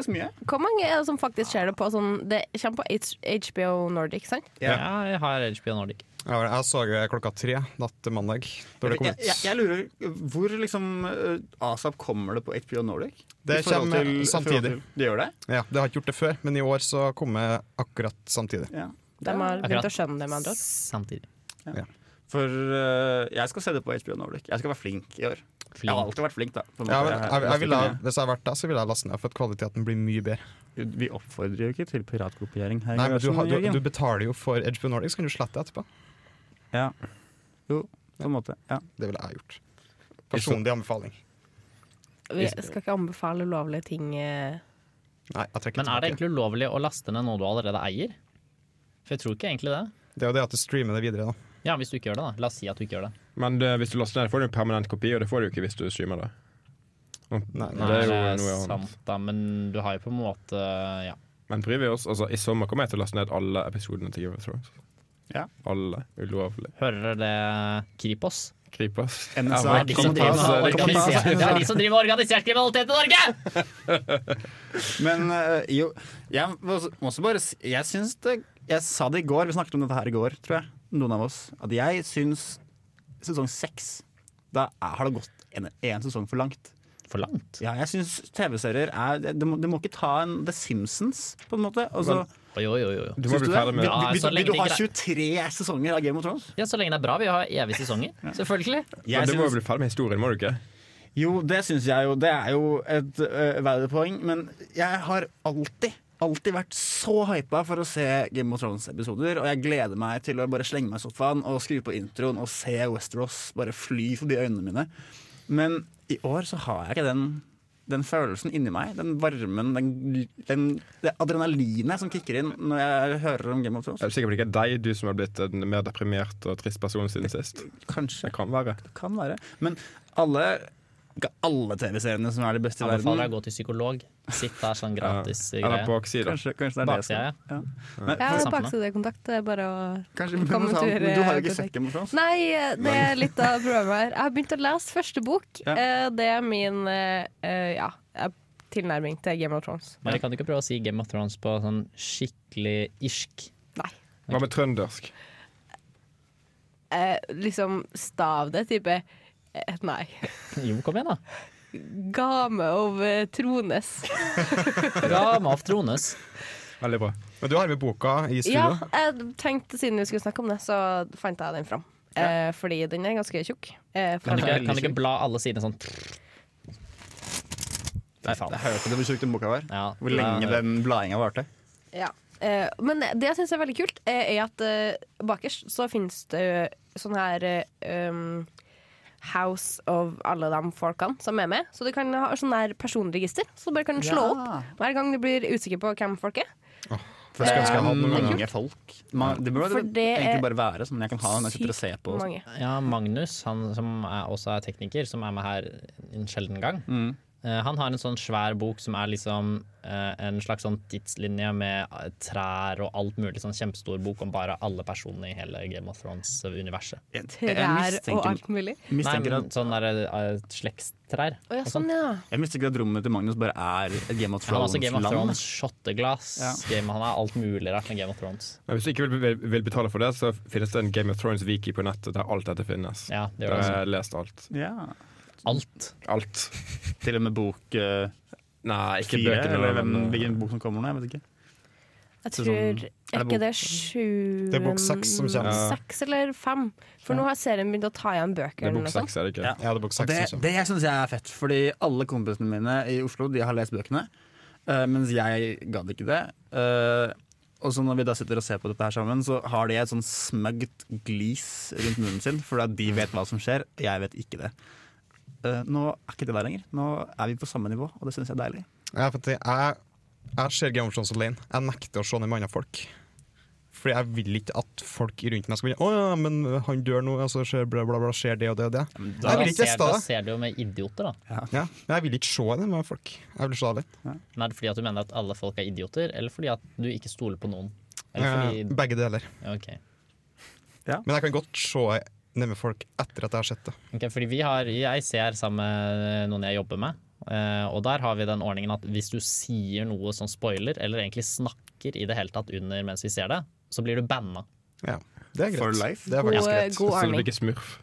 Speaker 1: hvor mange er det som faktisk ser det på sånn Det kommer på H HBO Nordic, sant?
Speaker 4: Ja, jeg har HBO Nordic.
Speaker 3: Jeg så det klokka tre natt til mandag. Da det kom
Speaker 2: jeg,
Speaker 3: ut.
Speaker 2: jeg, jeg lurer Hvor liksom eh, ASAP kommer det på HBO Nordic? I
Speaker 3: Det
Speaker 2: forhold
Speaker 3: kommer
Speaker 2: til- i forhold
Speaker 3: samtidig.
Speaker 2: til- Det gjør det?
Speaker 3: Ja, det har ikke gjort det før, men i år så kommer akkurat samtidig.
Speaker 2: Ja.
Speaker 1: De har begynt
Speaker 3: Akkurat.
Speaker 1: å skjønne det, med andre ord.
Speaker 4: Samtidig.
Speaker 3: Ja.
Speaker 2: For eh, jeg skal se det på HBO Nordic. Jeg skal være flink i år. Jeg har alltid vært flink, da. på en
Speaker 3: Ja,
Speaker 2: måte.
Speaker 3: men
Speaker 2: Jeg-
Speaker 3: jeg, jeg
Speaker 2: jeg
Speaker 3: ville,
Speaker 2: laster ikke
Speaker 3: hvis jeg hadde vært der, så ville jeg lastet ned, for at kvaliteten blir mye bedre.
Speaker 2: ned. Vi oppfordrer jo ikke til piratkopiering her. i
Speaker 3: Nei, men du,
Speaker 2: garasjen,
Speaker 3: har- du,
Speaker 2: Jørgen.
Speaker 3: du betaler jo for HBO Nordic, så kan du slette det etterpå.
Speaker 2: Ja. Jo, på en måte. Ja.
Speaker 3: Det ville jeg gjort. Personlig anbefaling.
Speaker 1: Vi skal ikke anbefale ulovlige ting. eh.
Speaker 3: Nei, jeg trekker
Speaker 4: Men er
Speaker 3: tilbake.
Speaker 4: det egentlig ulovlig å laste ned noe du allerede eier? For jeg tror ikke egentlig det.
Speaker 3: Det er jo det at du streamer det videre, da.
Speaker 4: Ja, hvis du ikke gjør det, da. La oss si at du ikke gjør det.
Speaker 5: Men det, hvis du laster ned, får du en permanent kopi, og det får du ikke hvis du streamer det. Og
Speaker 3: Nei,
Speaker 5: det er jo
Speaker 4: Nei,
Speaker 5: noe annet.
Speaker 4: sant, da, men du har jo på en måte Ja.
Speaker 5: Men Previous, altså i sommer kommer jeg til å laste ned alle episodene til Game of Thrones.
Speaker 4: Ja.
Speaker 5: Alle. Ulovlig.
Speaker 4: Hører dere det? Kripos?
Speaker 5: Kripos.
Speaker 4: NSA,
Speaker 5: Ja, men
Speaker 4: de som driver med
Speaker 5: Kripos, eh,
Speaker 4: organisert-
Speaker 5: Kripos.
Speaker 4: Det er de som driver med organisert kriminalitet i Norge!
Speaker 2: Men eh, jo, jeg må også- må også bare si Jeg syns det Jeg sa det i går, vi snakket om dette her i går, tror jeg. Noen av oss. At jeg syns sesong seks Da er, har det gått en, en sesong for langt.
Speaker 4: For langt?
Speaker 2: Ja, jeg syns TV-serier er det, det, må, det må ikke ta en The Simpsons, på en måte. Altså,
Speaker 4: Oi, oi, oi, oi.
Speaker 2: Syns Du det? Vil,
Speaker 4: Ja,
Speaker 2: vil,
Speaker 4: så
Speaker 2: vil, vil
Speaker 4: lenge
Speaker 2: du
Speaker 4: det
Speaker 2: ha
Speaker 4: ikke
Speaker 2: 23
Speaker 4: er-
Speaker 2: sesonger av Game of Thrones?
Speaker 4: Ja, så lenge det er bra. Vi har evige sesonger, selvfølgelig.
Speaker 5: Men du må jo bli ferdig med historien, må du ikke?
Speaker 2: Jo, det syns jeg jo. Det er jo et uh, valid poeng. Men jeg har alltid, alltid vært så hypa for å se Game of Thrones-episoder. Og jeg gleder meg til å bare slenge meg i sofaen og skru på introen og se Westeros bare fly forbi øynene mine. Men i år så har jeg ikke den, den følelsen inni meg. Den varmen, den, den, det adrenalinet som kicker inn når jeg hører om Game of Thrones.
Speaker 5: Jeg er sikker på det ikke er deg, du som har blitt en mer deprimert og trist person siden sist.
Speaker 2: Kanskje.
Speaker 5: Det kan være.
Speaker 2: Kan være. Men alle ikke alle TV-seriene som er de beste i verden.
Speaker 4: Anbefaler deg å gå til psykolog. Sitt der sånn gratis
Speaker 2: Ja.
Speaker 4: greie.
Speaker 2: Eller baksida. Kanskje- kanskje det er det
Speaker 4: Baksida,
Speaker 2: jeg
Speaker 4: ja.
Speaker 2: Men- altså,
Speaker 1: Jeg har jo
Speaker 4: Samfunnet.
Speaker 1: baksidekontakt. Det er bare å
Speaker 2: Kanskje, men
Speaker 1: komme
Speaker 2: du
Speaker 1: en
Speaker 2: har-
Speaker 1: tur,
Speaker 2: men du har jo ikke
Speaker 1: eh,
Speaker 2: sett Game of Thrones.
Speaker 1: Nei, eh, det er litt av problemet her. Jeg har begynt å lese første bok.
Speaker 4: Ja.
Speaker 1: Eh, Det er min eh, eh, ja, eh, tilnærming til Game of Thrones.
Speaker 4: Mari, kan du ikke prøve å si Game of Thrones på sånn skikkelig irsk?
Speaker 1: Nei.
Speaker 5: Hva med trøndersk?
Speaker 1: Eh, liksom stav det, type eh, Nei.
Speaker 4: Jo, kom igjen, da.
Speaker 1: Game over Trones.
Speaker 4: Game of Trones.
Speaker 5: Veldig bra.
Speaker 3: Men du har med boka i studio.
Speaker 1: Ja, jeg tenkte siden vi skulle snakke om det, så fant jeg den fram. Eh, fordi den er ganske tjukk. Eh,
Speaker 4: Kan du
Speaker 1: fra-
Speaker 4: ikke, kan du ikke bla alle sidene sånn?
Speaker 2: Jeg, jeg hørte det hvor tjukk den boka var. Hvor
Speaker 4: det
Speaker 2: lenge
Speaker 4: er-
Speaker 2: den bladinga varte.
Speaker 1: Ja. Eh, men det jeg syns er veldig kult, eh, er at eh, bakerst så finnes det sånn her eh, um, House of alle de folkene som er med. Så du kan ha sånn her personregister. Så du bare kan slå
Speaker 2: Ja.
Speaker 1: opp hver gang du blir usikker på hvem folk er.
Speaker 2: For jeg ønske jeg
Speaker 1: um,
Speaker 2: hadde
Speaker 4: Eh,
Speaker 2: mange folk. Mm. Man, det burde
Speaker 1: For
Speaker 2: det
Speaker 1: det er
Speaker 2: egentlig bare være sånn jeg kan ha når jeg sitter og sånn. ser på.
Speaker 1: mange.
Speaker 4: Ja, Magnus, han som er, også er tekniker, som er med her en sjelden gang. eh, han har en sånn svær bok som er liksom eh, en slags sånn tidslinje med eh, trær og alt mulig. Sånn kjempestor bok om bare alle personene i hele Game of Thrones-universet.
Speaker 2: jeg
Speaker 1: Trær
Speaker 2: mistenker-
Speaker 1: og alt mulig.
Speaker 4: Nei,
Speaker 2: mistenker
Speaker 4: men
Speaker 2: at-
Speaker 4: sånn der, eh, slektstrær.
Speaker 1: Å ja,
Speaker 4: og
Speaker 1: sånn, ja.
Speaker 2: Jeg mistenker at rommet til Magnus bare er et Game of
Speaker 4: Han har også Game of Thrones,
Speaker 2: Thrones-land.
Speaker 4: shotteglass Game, Han er alt mulig rart med Game of Thrones.
Speaker 5: Men hvis du ikke vil, vil, vil betale for det, så finnes det en Game of Thrones-wiki på nettet der alt dette finnes.
Speaker 4: Ja, det gjør
Speaker 5: der
Speaker 4: det
Speaker 5: har
Speaker 4: også.
Speaker 5: jeg lest alt.
Speaker 2: Ja.
Speaker 4: Alt.
Speaker 5: Alt.
Speaker 2: Til og med bok eh,
Speaker 5: Nei, ikke
Speaker 2: fire,
Speaker 5: bøkene,
Speaker 2: eller hvem,
Speaker 5: men, eh,
Speaker 2: hvilken bok som kommer nå. Jeg vet ikke.
Speaker 1: Jeg
Speaker 2: Så
Speaker 1: tror
Speaker 2: sånn-
Speaker 1: Er
Speaker 2: bok-
Speaker 1: ikke det sju
Speaker 3: Det er bok seks som kommer. Ja.
Speaker 1: Seks eller fem. For nå har serien begynt å ta igjen bøkene. og sånn.
Speaker 5: er det ikke?
Speaker 3: Ja, det er bok seks
Speaker 2: Det,
Speaker 3: som kommer.
Speaker 2: det jeg syns jeg er fett, fordi alle kompisene mine i Oslo De har lest bøkene, eh, mens jeg gadd ikke det. Eh, og så når vi da sitter og ser på dette her sammen, så har de et sånn smøgt glis rundt munnen sin, for at de vet hva som skjer, jeg vet ikke det. Eh, nå er ikke det der lenger. Nå er vi på samme nivå, og det syns jeg er deilig.
Speaker 3: Ja, for at jeg, jeg ser Game of Thrones alene. Jeg nekter å se ned med andre folk. Fordi jeg vil ikke at folk rundt meg skal begynne Å ja, men han dør nå, og så skjer bla, bla, bla, skjer det og det og det.
Speaker 4: Da,
Speaker 3: Jeg vil ikke teste
Speaker 4: ser, da
Speaker 3: det.
Speaker 4: ser du jo med idioter, da.
Speaker 3: Ja, men jeg vil ikke se det med folk. Jeg vil se det alene.
Speaker 4: Men er det fordi at du mener at alle folk er idioter, eller fordi at du ikke stoler på noen? Eller
Speaker 3: Eh,
Speaker 4: fordi
Speaker 3: Begge deler.
Speaker 4: Ok.
Speaker 3: Men jeg kan godt se ned med folk etter at jeg har sett det.
Speaker 4: Ok, fordi vi har, jeg ser sammen med noen jeg jobber med, eh, og der har vi den ordningen at hvis du sier noe som spoiler, eller egentlig snakker i det hele tatt under mens vi ser det, så blir du banna.
Speaker 3: Ja, det er greit.
Speaker 4: For life?
Speaker 3: Det er faktisk
Speaker 4: God-
Speaker 3: greit.
Speaker 4: god
Speaker 5: Så det
Speaker 4: ordning.
Speaker 5: blir ikke smurf.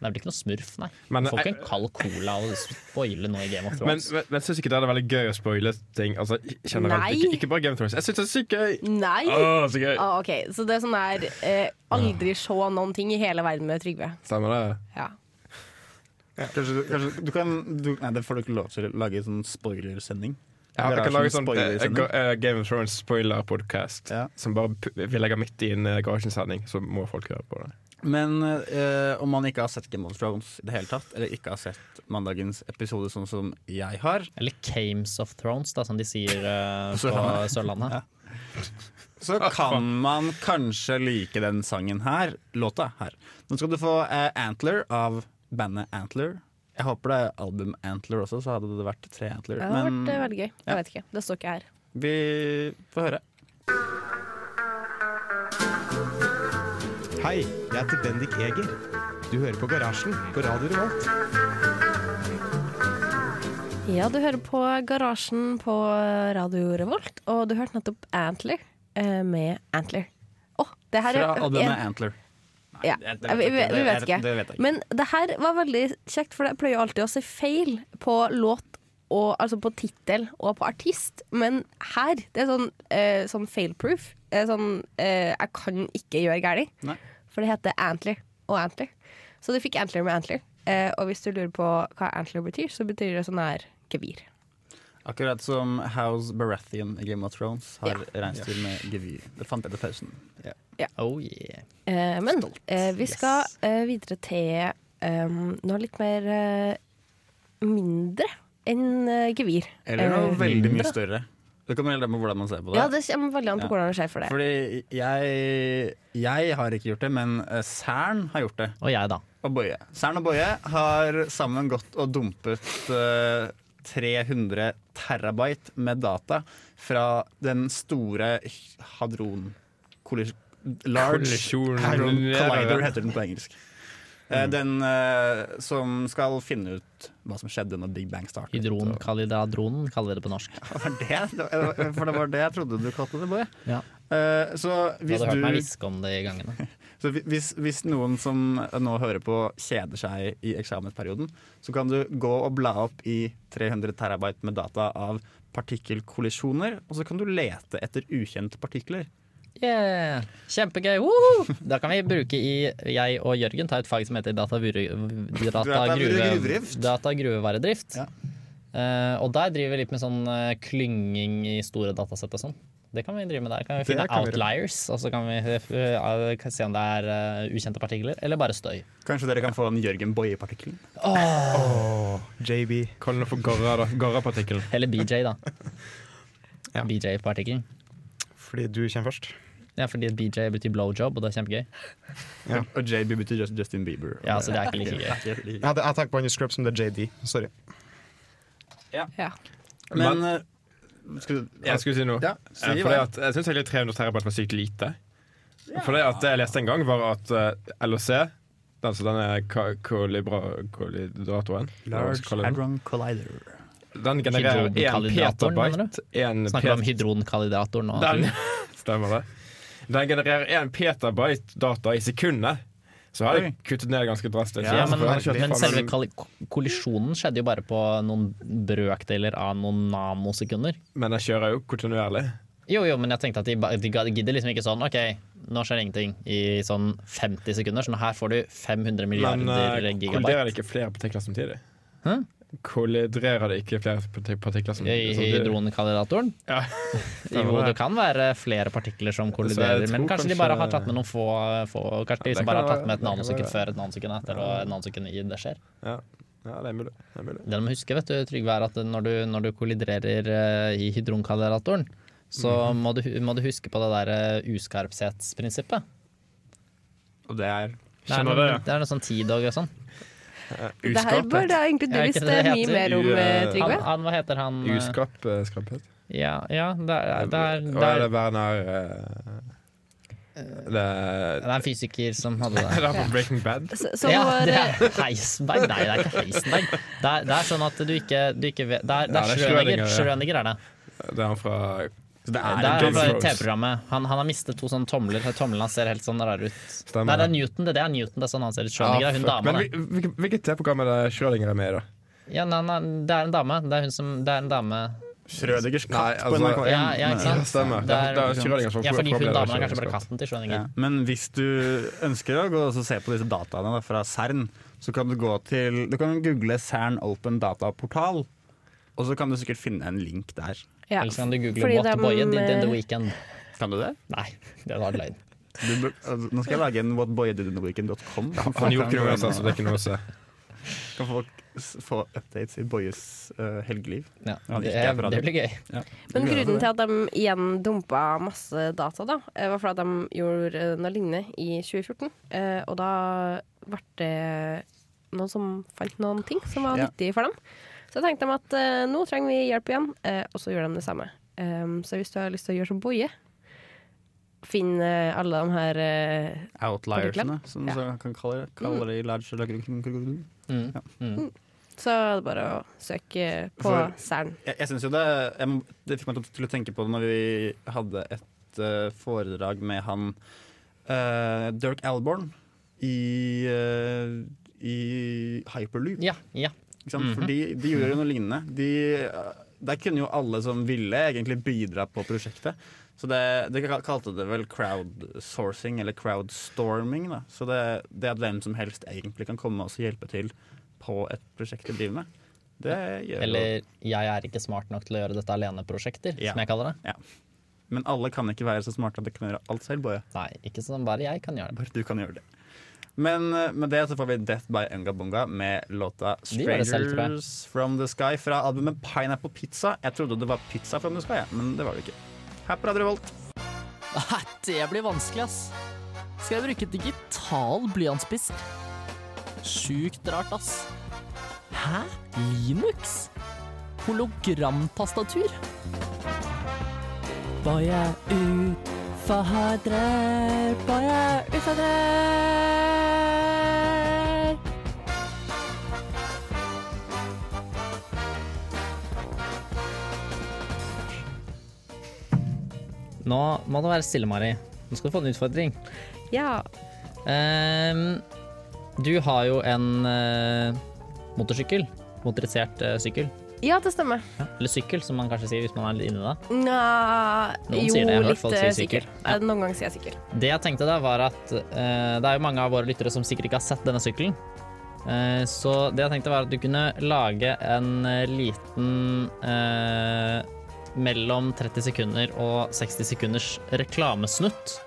Speaker 4: Det blir ikke noe smurf, nei.
Speaker 5: Men-
Speaker 4: du får ikke en kald cola og spoile noe i Game of
Speaker 5: Men,
Speaker 4: Thrones.
Speaker 5: men, men syns ikke dere det er veldig gøy å spoile ting? Altså, generelt.
Speaker 1: Nei.
Speaker 5: Ikke, ikke bare Game of Thrones. Jeg syns det er sykt gøy!
Speaker 1: Nei!
Speaker 5: Å, så gøy.
Speaker 1: Ah, ok, Så det er sånn her eh, Aldri se noen ting i hele verden med Trygve.
Speaker 5: Stemmer det?
Speaker 1: Ja.
Speaker 2: Kanskje, du- kanskje du kan du, Nei, det får du ikke lov til. Lage sånn spoilersending.
Speaker 5: Ja, jeg kan lage
Speaker 2: Garasjens
Speaker 5: sånn eh,
Speaker 2: spoilersending.
Speaker 5: Ga- eh, Game of Thrones spoiler-podkast som bare p- vi legger midt i en eh, garasjesending, så må folk høre på det.
Speaker 2: Men eh, om man ikke har sett Game of Thrones i det hele tatt, eller ikke har sett mandagens episode sånn som jeg har
Speaker 4: Eller Games of Thrones, da, som de sier eh, på
Speaker 2: Sørlandet.
Speaker 4: Sørlandet.
Speaker 2: så kan man kanskje like den sangen her, låta her. Nå skal du få eh, Antler av bandet Antler. Jeg håper det er album Antler også, så hadde det vært tre Antler.
Speaker 1: Det hadde
Speaker 2: men-
Speaker 1: vært eh, veldig gøy. Jeg vet ikke. Det står ikke her.
Speaker 2: Vi får høre.
Speaker 3: Hei, jeg heter Bendik Eger. Du hører på Garasjen på Radio Revolt.
Speaker 1: Ja, du hører på Garasjen på Radio Revolt, og du hørte nettopp Antler eh, med Antler. Åh, det her
Speaker 2: Fra
Speaker 1: er
Speaker 2: albumet
Speaker 1: en-
Speaker 2: Antler.
Speaker 1: Ja.
Speaker 2: det- det vet jeg
Speaker 1: Vi, vi,
Speaker 2: ikke.
Speaker 1: vi vet
Speaker 2: Det- det vet jeg
Speaker 1: ikke.
Speaker 2: ikke.
Speaker 1: Men det her var veldig kjekt, for jeg pleier jo alltid å se feil på låt, og, altså på tittel og på artist, men her Det er sånn, eh, sånn fail-proof. Eh, Sånn eh, Jeg kan ikke gjøre galt. For det heter Antler og Antler. Så du fikk Antler med Antler. Eh, og hvis du lurer på hva Antler betyr, så betyr det sånn her gevir.
Speaker 2: Akkurat som House Baratheon i Game of Thrones har reinsdyr med gevir. Det fant jeg til pausen.
Speaker 1: Ja.
Speaker 4: Oh yeah.
Speaker 1: Eh, men eh, vi skal eh, videre til em, noe litt mer eh, mindre enn eh, gevir.
Speaker 2: Eller noe
Speaker 1: Eh,
Speaker 2: veldig mye
Speaker 1: mindre.
Speaker 2: større. Det kommer helt an på hvordan man ser på det.
Speaker 1: Ja, det kommer veldig an på
Speaker 2: Ja.
Speaker 1: hvordan det skjer for deg.
Speaker 2: Fordi jeg, jeg har ikke gjort det, men eh, Cern har gjort det.
Speaker 4: Og jeg, da.
Speaker 2: Og Boje. Cern og Boje har sammen gått og dumpet eh, 300 terabyte med data fra den store hadron... kollis- Large
Speaker 5: Kollisjon.
Speaker 2: Hadron Collider
Speaker 5: Ja.
Speaker 2: heter den på engelsk. Eh,
Speaker 4: Mm.
Speaker 2: Den eh, som skal finne ut hva som skjedde når Big Bang startet.
Speaker 4: Hydronkallidadronen kaller vi det på norsk.
Speaker 2: For det, for det var det jeg trodde du kalte det, Boje.
Speaker 4: Ja.
Speaker 2: Eh, så
Speaker 4: Du
Speaker 2: hvis
Speaker 4: hadde hørt
Speaker 2: du
Speaker 4: meg hviske om det i gangene.
Speaker 2: så hvi- hvis, hvis noen som nå hører på kjeder seg i eksamensperioden, så kan du gå og bla opp i 300 terabyte med data av partikkelkollisjoner, og så kan du lete etter ukjente partikler.
Speaker 4: Yeah. Kjempegøy! Woho! Da kan vi bruke i Jeg og Jørgen tar et fag som heter data, vuru- data,
Speaker 2: Data
Speaker 4: gruve-
Speaker 2: gruvedrift.
Speaker 4: data gruvevaredrift. Eh, og der driver vi litt med sånn eh, klynging i store datasett og sånn. Det kan vi drive med der. Kan vi
Speaker 2: Det
Speaker 4: finne
Speaker 2: kan vi gjøre.
Speaker 4: outliers, og så kan vi eh, eh, se om det er eh, ukjente partikler, eller bare støy.
Speaker 2: Kanskje dere kan få den Jørgen Boie-partikkelen?
Speaker 5: Åh, JB. Kall den for Garra, da. Garra-partikkelen.
Speaker 4: Eller BJ, da. BJ-partikkelen.
Speaker 3: Fordi du kommer først.
Speaker 4: Ja, fordi BJ betyr blowjob, og det er kjempegøy.
Speaker 3: Ja.
Speaker 2: Og JB betyr just Justin Bieber.
Speaker 4: Ja, så det er ikke like gøy.
Speaker 3: Jeg, hadde, jeg tenker på han i Scrubs, men det er JD. Sorry.
Speaker 1: Ja.
Speaker 2: Men eh, skal du,
Speaker 5: Jeg skulle si noe.
Speaker 2: Ja, si
Speaker 5: Eh,
Speaker 2: hva.
Speaker 5: fordi at, jeg syns egentlig 300 terabyte var sykt lite. For det at det jeg leste en gang, var at eh, LHC, altså denne ka- kolibra- kolidratoren
Speaker 2: Large
Speaker 5: hva kaller den?
Speaker 2: Hadron Collider.
Speaker 5: Den genererer én
Speaker 4: Hydronkallidatoren, mener
Speaker 5: petabyte.
Speaker 4: du?
Speaker 5: en
Speaker 4: Snakker du om
Speaker 5: pet-
Speaker 4: hydronkallidatoren nå?
Speaker 5: Den, stemmer det. Den genererer én petabyte data i sekundet. Så har jeg
Speaker 4: Oi.
Speaker 5: kuttet ned ganske drastisk.
Speaker 4: Ja, men,
Speaker 5: Så-
Speaker 4: men selve kalli- kollisjonen skjedde jo bare på noen brøkdeler av noen nanosekunder.
Speaker 5: Men jeg kjører jo kontinuerlig.
Speaker 4: Jo, jo, men jeg tenkte at de, ba- de ga- de gidder liksom ikke sånn OK, nå skjer ingenting i sånn 50 sekunder, så nå her får du 500 milliarder
Speaker 5: Men eh, kolliderer
Speaker 4: gigabyte.
Speaker 5: det ikke flere partikler samtidig?
Speaker 4: Hæ?
Speaker 5: Kolliderer det ikke flere parti- partikler
Speaker 4: I
Speaker 5: samtidig?
Speaker 4: i
Speaker 5: samtidig?
Speaker 4: hydronkallidatoren?
Speaker 5: Ja.
Speaker 4: Jo, det kan være flere partikler som kolliderer,
Speaker 5: jeg
Speaker 4: men
Speaker 5: tror
Speaker 4: kanskje de
Speaker 5: kanskje-
Speaker 4: bare har tatt med noen få, få Kanskje de
Speaker 5: Ja, det
Speaker 4: liksom bare
Speaker 5: kan
Speaker 4: har tatt
Speaker 5: være-
Speaker 4: med et
Speaker 5: det kan
Speaker 4: nanosekund
Speaker 5: være.
Speaker 4: før, et nanosekund etter og et nanosekund i. Det skjer.
Speaker 5: Ja. ja, det er mulig. Det er mulig.
Speaker 4: Det du må huske, vet du, Trygve, er at når du, når du kolliderer eh, i hydronkallidatoren, så må, du, hu- må du huske på det der eh, uskarphetsprinsippet.
Speaker 2: Og det er
Speaker 4: Det er, noe, det er noe sånn tid og sånn.
Speaker 1: Det her burde egentlig du
Speaker 4: Ja, ikke
Speaker 1: visst
Speaker 4: det det
Speaker 1: mye
Speaker 4: heter?
Speaker 1: mer om, eh, Trygve.
Speaker 4: Han, han, hva heter han? eh,
Speaker 5: Uskap, eh, skrapphet.
Speaker 4: Ja, ja det, er, det, er,
Speaker 5: Og
Speaker 4: det,
Speaker 5: er
Speaker 4: er,
Speaker 5: det Werner eh, Det
Speaker 4: det er en fysiker som hadde
Speaker 5: Det er
Speaker 4: det.
Speaker 5: fra Breaking Bad.
Speaker 1: Så, så
Speaker 4: ja,
Speaker 1: var,
Speaker 4: det
Speaker 1: eh,
Speaker 4: er Heisenberg. Nei, det er ikke Heisenberg. Det er, det er sånn at du ikke, du ikke vet Det er, det
Speaker 5: Ja,
Speaker 4: er
Speaker 5: det er
Speaker 4: Schrødinger.
Speaker 5: Schrødinger, ja.
Speaker 4: Schrødinger er det.
Speaker 5: Det er han fra
Speaker 2: Det
Speaker 4: Det er han fra TV-programmet. Han, han har mistet to sånne tomler. Tomlene hans ser helt sånn rar ut. Nei, det er Newton. Det, det er Newton. Det er sånn han ser ut. Schrødinger
Speaker 5: Ah,
Speaker 4: er hun
Speaker 5: fuck.
Speaker 4: dama.
Speaker 5: Men
Speaker 4: da.
Speaker 5: hvil- hvilket- hvilket TV-program er det Schrødinger er med i, da?
Speaker 4: Ja, nei, nei, det er en dame. Det er hun som Det er en dame.
Speaker 2: Schrødingers
Speaker 5: Nei,
Speaker 2: katt
Speaker 5: altså-
Speaker 2: på NRK1.
Speaker 4: Ja, ja, ikke sant?
Speaker 5: Ja, stemmer.
Speaker 4: Det er-
Speaker 5: Det er Schrødinger som
Speaker 4: Ja, fordi hun
Speaker 5: forbereder
Speaker 4: damen er kanskje
Speaker 5: Schrødingers
Speaker 4: bare
Speaker 5: katt.
Speaker 4: katten til Schrødinger.
Speaker 2: Ja. Men hvis du ønsker å gå og se på disse dataene da, fra CERN, så kan du gå til Du kan google CERN Open Data Portal, og så kan du sikkert finne en link der.
Speaker 1: Ja.
Speaker 4: Eller så kan du google
Speaker 1: Fordi
Speaker 4: What
Speaker 1: dem,
Speaker 4: Boye did in the
Speaker 1: eh,
Speaker 4: weekend.
Speaker 2: Kan du det?
Speaker 4: Nei, det var løgn.
Speaker 2: Du, bør- altså, nå skal jeg lage en whatboyedidintheweekend.com.
Speaker 5: Han gjorde ikke noe uansett, så det er ikke noe å se.
Speaker 2: Kan folk s- få updates i Boyes eh, helgeliv?
Speaker 4: Ja,
Speaker 2: Når han
Speaker 4: det-
Speaker 2: ikke er på radio.
Speaker 4: det blir gøy.
Speaker 2: Ja.
Speaker 1: Men grunnen til at de igjen dumpa masse data, da, eh, var fordi de gjorde eh, noe lignende i 2014. Eh, Og da ble det noen som fant noen ting som var
Speaker 2: Ja.
Speaker 1: nyttig for dem. Så tenkte de at eh, nå trenger vi hjelp igjen, eh, og så gjorde de det samme. Um, så hvis du har lyst til å gjøre som Boje, finn eh, alle de her eh,
Speaker 2: Outliersene,
Speaker 1: partiklene.
Speaker 2: som
Speaker 1: Ja. Mm.
Speaker 2: man kan kalle det. Kaller det i large lagring.
Speaker 4: Mm.
Speaker 2: Ja.
Speaker 1: Så er det bare å søke eh, på
Speaker 2: For-
Speaker 1: Cern.
Speaker 2: Jeg, jeg synes jo det, jeg, må- det fikk meg til å tenke på det når vi hadde et eh, foredrag med han eh, Dirk Alborn i, eh, i Hyperloop.
Speaker 4: Ja, ja.
Speaker 2: Ikke sant?
Speaker 4: Mhm.
Speaker 2: Fordi de gjorde jo noe lignende. De, eh, der kunne jo alle som ville egentlig bidra på prosjektet. Så det, De kal- kalte det vel crowdsourcing, eller crowdstorming. Da. Så det, det at hvem som helst egentlig kan komme og så hjelpe til på et prosjekt de driver med, det gjør jo
Speaker 4: Eller 'jeg er ikke smart nok til å gjøre dette alene'-prosjekter,
Speaker 2: Ja.
Speaker 4: som jeg kaller det.
Speaker 2: Men alle kan ikke være så smarte at de kan gjøre alt selv, Boje.
Speaker 4: Nei, ikke sånn, bare jeg kan gjøre det.
Speaker 2: Bare du kan gjøre det. Men eh, med det så får vi Death by Ungabunga med låta
Speaker 4: De gjør det selv, tror jeg.
Speaker 2: 'Strangers From The Sky' fra albumet Pineapple Pizza. Jeg trodde det var Pizza From The Sky, jeg, men det var det ikke. Her på Radio Revolt.
Speaker 13: Nei, det blir vanskelig, ass. Skal jeg bruke digital blyantspiss? Sjukt rart, ass. Hæ? Linux? Hologramtastatur? Bare utfordrer, bare utfordrer.
Speaker 4: Nå må det være stille, Mari. Nå skal du få en utfordring.
Speaker 1: Ja.
Speaker 4: Ehm, du har jo en eh, motorsykkel. Motorisert eh, sykkel.
Speaker 1: ja, det stemmer.
Speaker 4: Eller sykkel, som man kanskje sier hvis man er litt inni det.
Speaker 1: Nja
Speaker 4: Noen
Speaker 1: Jo,
Speaker 4: sier det, jeg har hørt
Speaker 1: litt
Speaker 4: folk si
Speaker 1: eh,
Speaker 4: sikker.
Speaker 1: sikker. Eh, Noen ganger sier jeg sikker.
Speaker 4: Det jeg tenkte da var at eh, det er jo mange av våre lyttere som sikkert ikke har sett denne sykkelen. Eh, så det jeg tenkte var at du kunne lage en eh, liten eh, mellom 30 sekunder og 60 sekunders reklamesnutt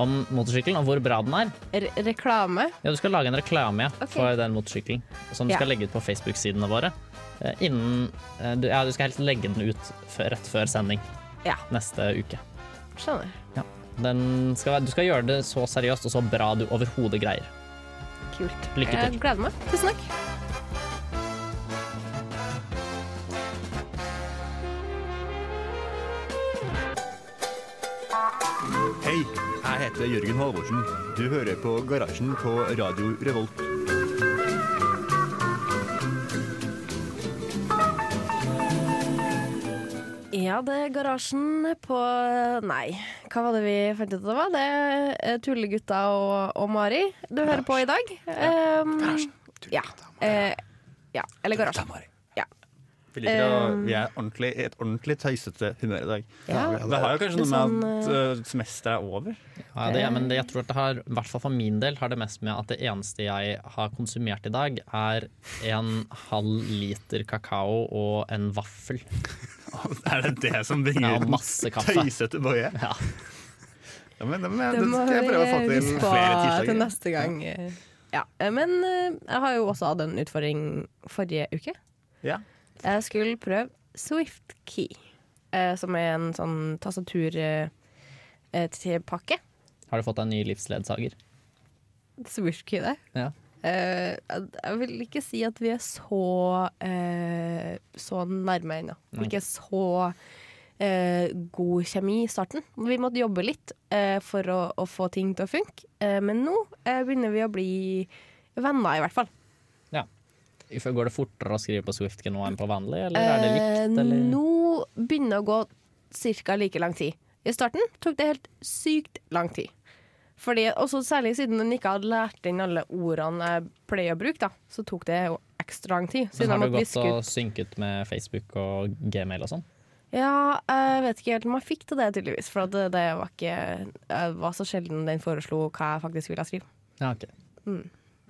Speaker 4: om motorsykkelen og hvor bra den er.
Speaker 1: Re reklame.
Speaker 4: Ja, du skal lage en reklame ja,
Speaker 1: Ok.
Speaker 4: for den motorsykkelen som du
Speaker 1: Ja.
Speaker 4: skal legge ut på Facebook-sidene våre. eh, innen eh, du, Ja, du skal helst legge den ut før- rett før sending
Speaker 1: Ja.
Speaker 4: neste uke.
Speaker 1: Skjønner.
Speaker 4: Den skal, være- du skal gjøre det så seriøst og så bra du overhodet greier.
Speaker 1: Kult.
Speaker 4: Lykke til.
Speaker 1: Jeg gleder meg. Tusen takk.
Speaker 14: Hei, jeg heter Jørgen Halvorsen. Du hører på Garasjen på Radio Revolt.
Speaker 1: Ja, det er garasjen på Nei, hva var det vi fant ut at det var? Det er Tullegutta og, og Mari du hører på i dag. Um, ja. Eh, ja. Eller Garasjen. Ja.
Speaker 2: Vi, liker å,
Speaker 1: Um,
Speaker 2: vi er ordentlig, i et ordentlig tøysete humør i dag.
Speaker 1: Ja.
Speaker 2: det har jo kanskje noe
Speaker 1: Litt
Speaker 2: med
Speaker 1: sånn,
Speaker 2: at
Speaker 1: eh,
Speaker 2: eh, semesteret er over.
Speaker 4: Ja, det, men det, jeg tror at det har, i hvert fall for min del, har det mest med at det eneste jeg har konsumert i dag, er en halv liter kakao og en vaffel.
Speaker 2: Er det det som bringer
Speaker 4: ja,
Speaker 2: den
Speaker 4: masse kaffe.
Speaker 2: tøysete Boje?
Speaker 4: Ja.
Speaker 2: Ja, men, men,
Speaker 1: Det må
Speaker 2: det skal jeg prøve å få til
Speaker 1: vi
Speaker 2: flere
Speaker 1: spare til
Speaker 2: tirsdager.
Speaker 1: neste gang. Ja, eh, Men eh, jeg har jo også hatt en utfordring forrige uke.
Speaker 2: Ja.
Speaker 1: Jeg skulle prøve SwiftKey, eh, som er en sånn eh, tastaturpakke.
Speaker 4: Har du fått deg en ny livsledsager?
Speaker 1: Swishkey, det.
Speaker 4: Ja.
Speaker 1: Eh, jeg vil ikke si at vi er så eh, så nærme ennå.
Speaker 4: Nei.
Speaker 1: Ikke så eh, god kjemi i starten. Vi måtte jobbe litt eh, for å, å få ting til å funke, eh, men nå eh, begynner vi å bli venner, i hvert fall.
Speaker 4: Ja. Går det fortere å skrive på Swiftke nå enn på vanlig, eller er det likt?
Speaker 1: Eh,
Speaker 4: Eller?
Speaker 1: Nå begynner det å gå ca. like lang tid. I starten tok det helt sykt lang tid. Fordi, også særlig siden hun ikke hadde lært inn alle ordene jeg pleier å bruke, da, så tok det jo ekstra lang tid.
Speaker 4: Men
Speaker 1: Siden jeg
Speaker 4: har du
Speaker 1: måtte
Speaker 4: gått
Speaker 1: viske
Speaker 4: og
Speaker 1: ut
Speaker 4: synket med Facebook og Gmail og sånn?
Speaker 1: Ja, jeg vet ikke helt om jeg fikk til det, tydeligvis. For at det, det var ikke Det var så sjelden den foreslo hva jeg faktisk ville skrive.
Speaker 4: Ja, ok.
Speaker 1: Mm.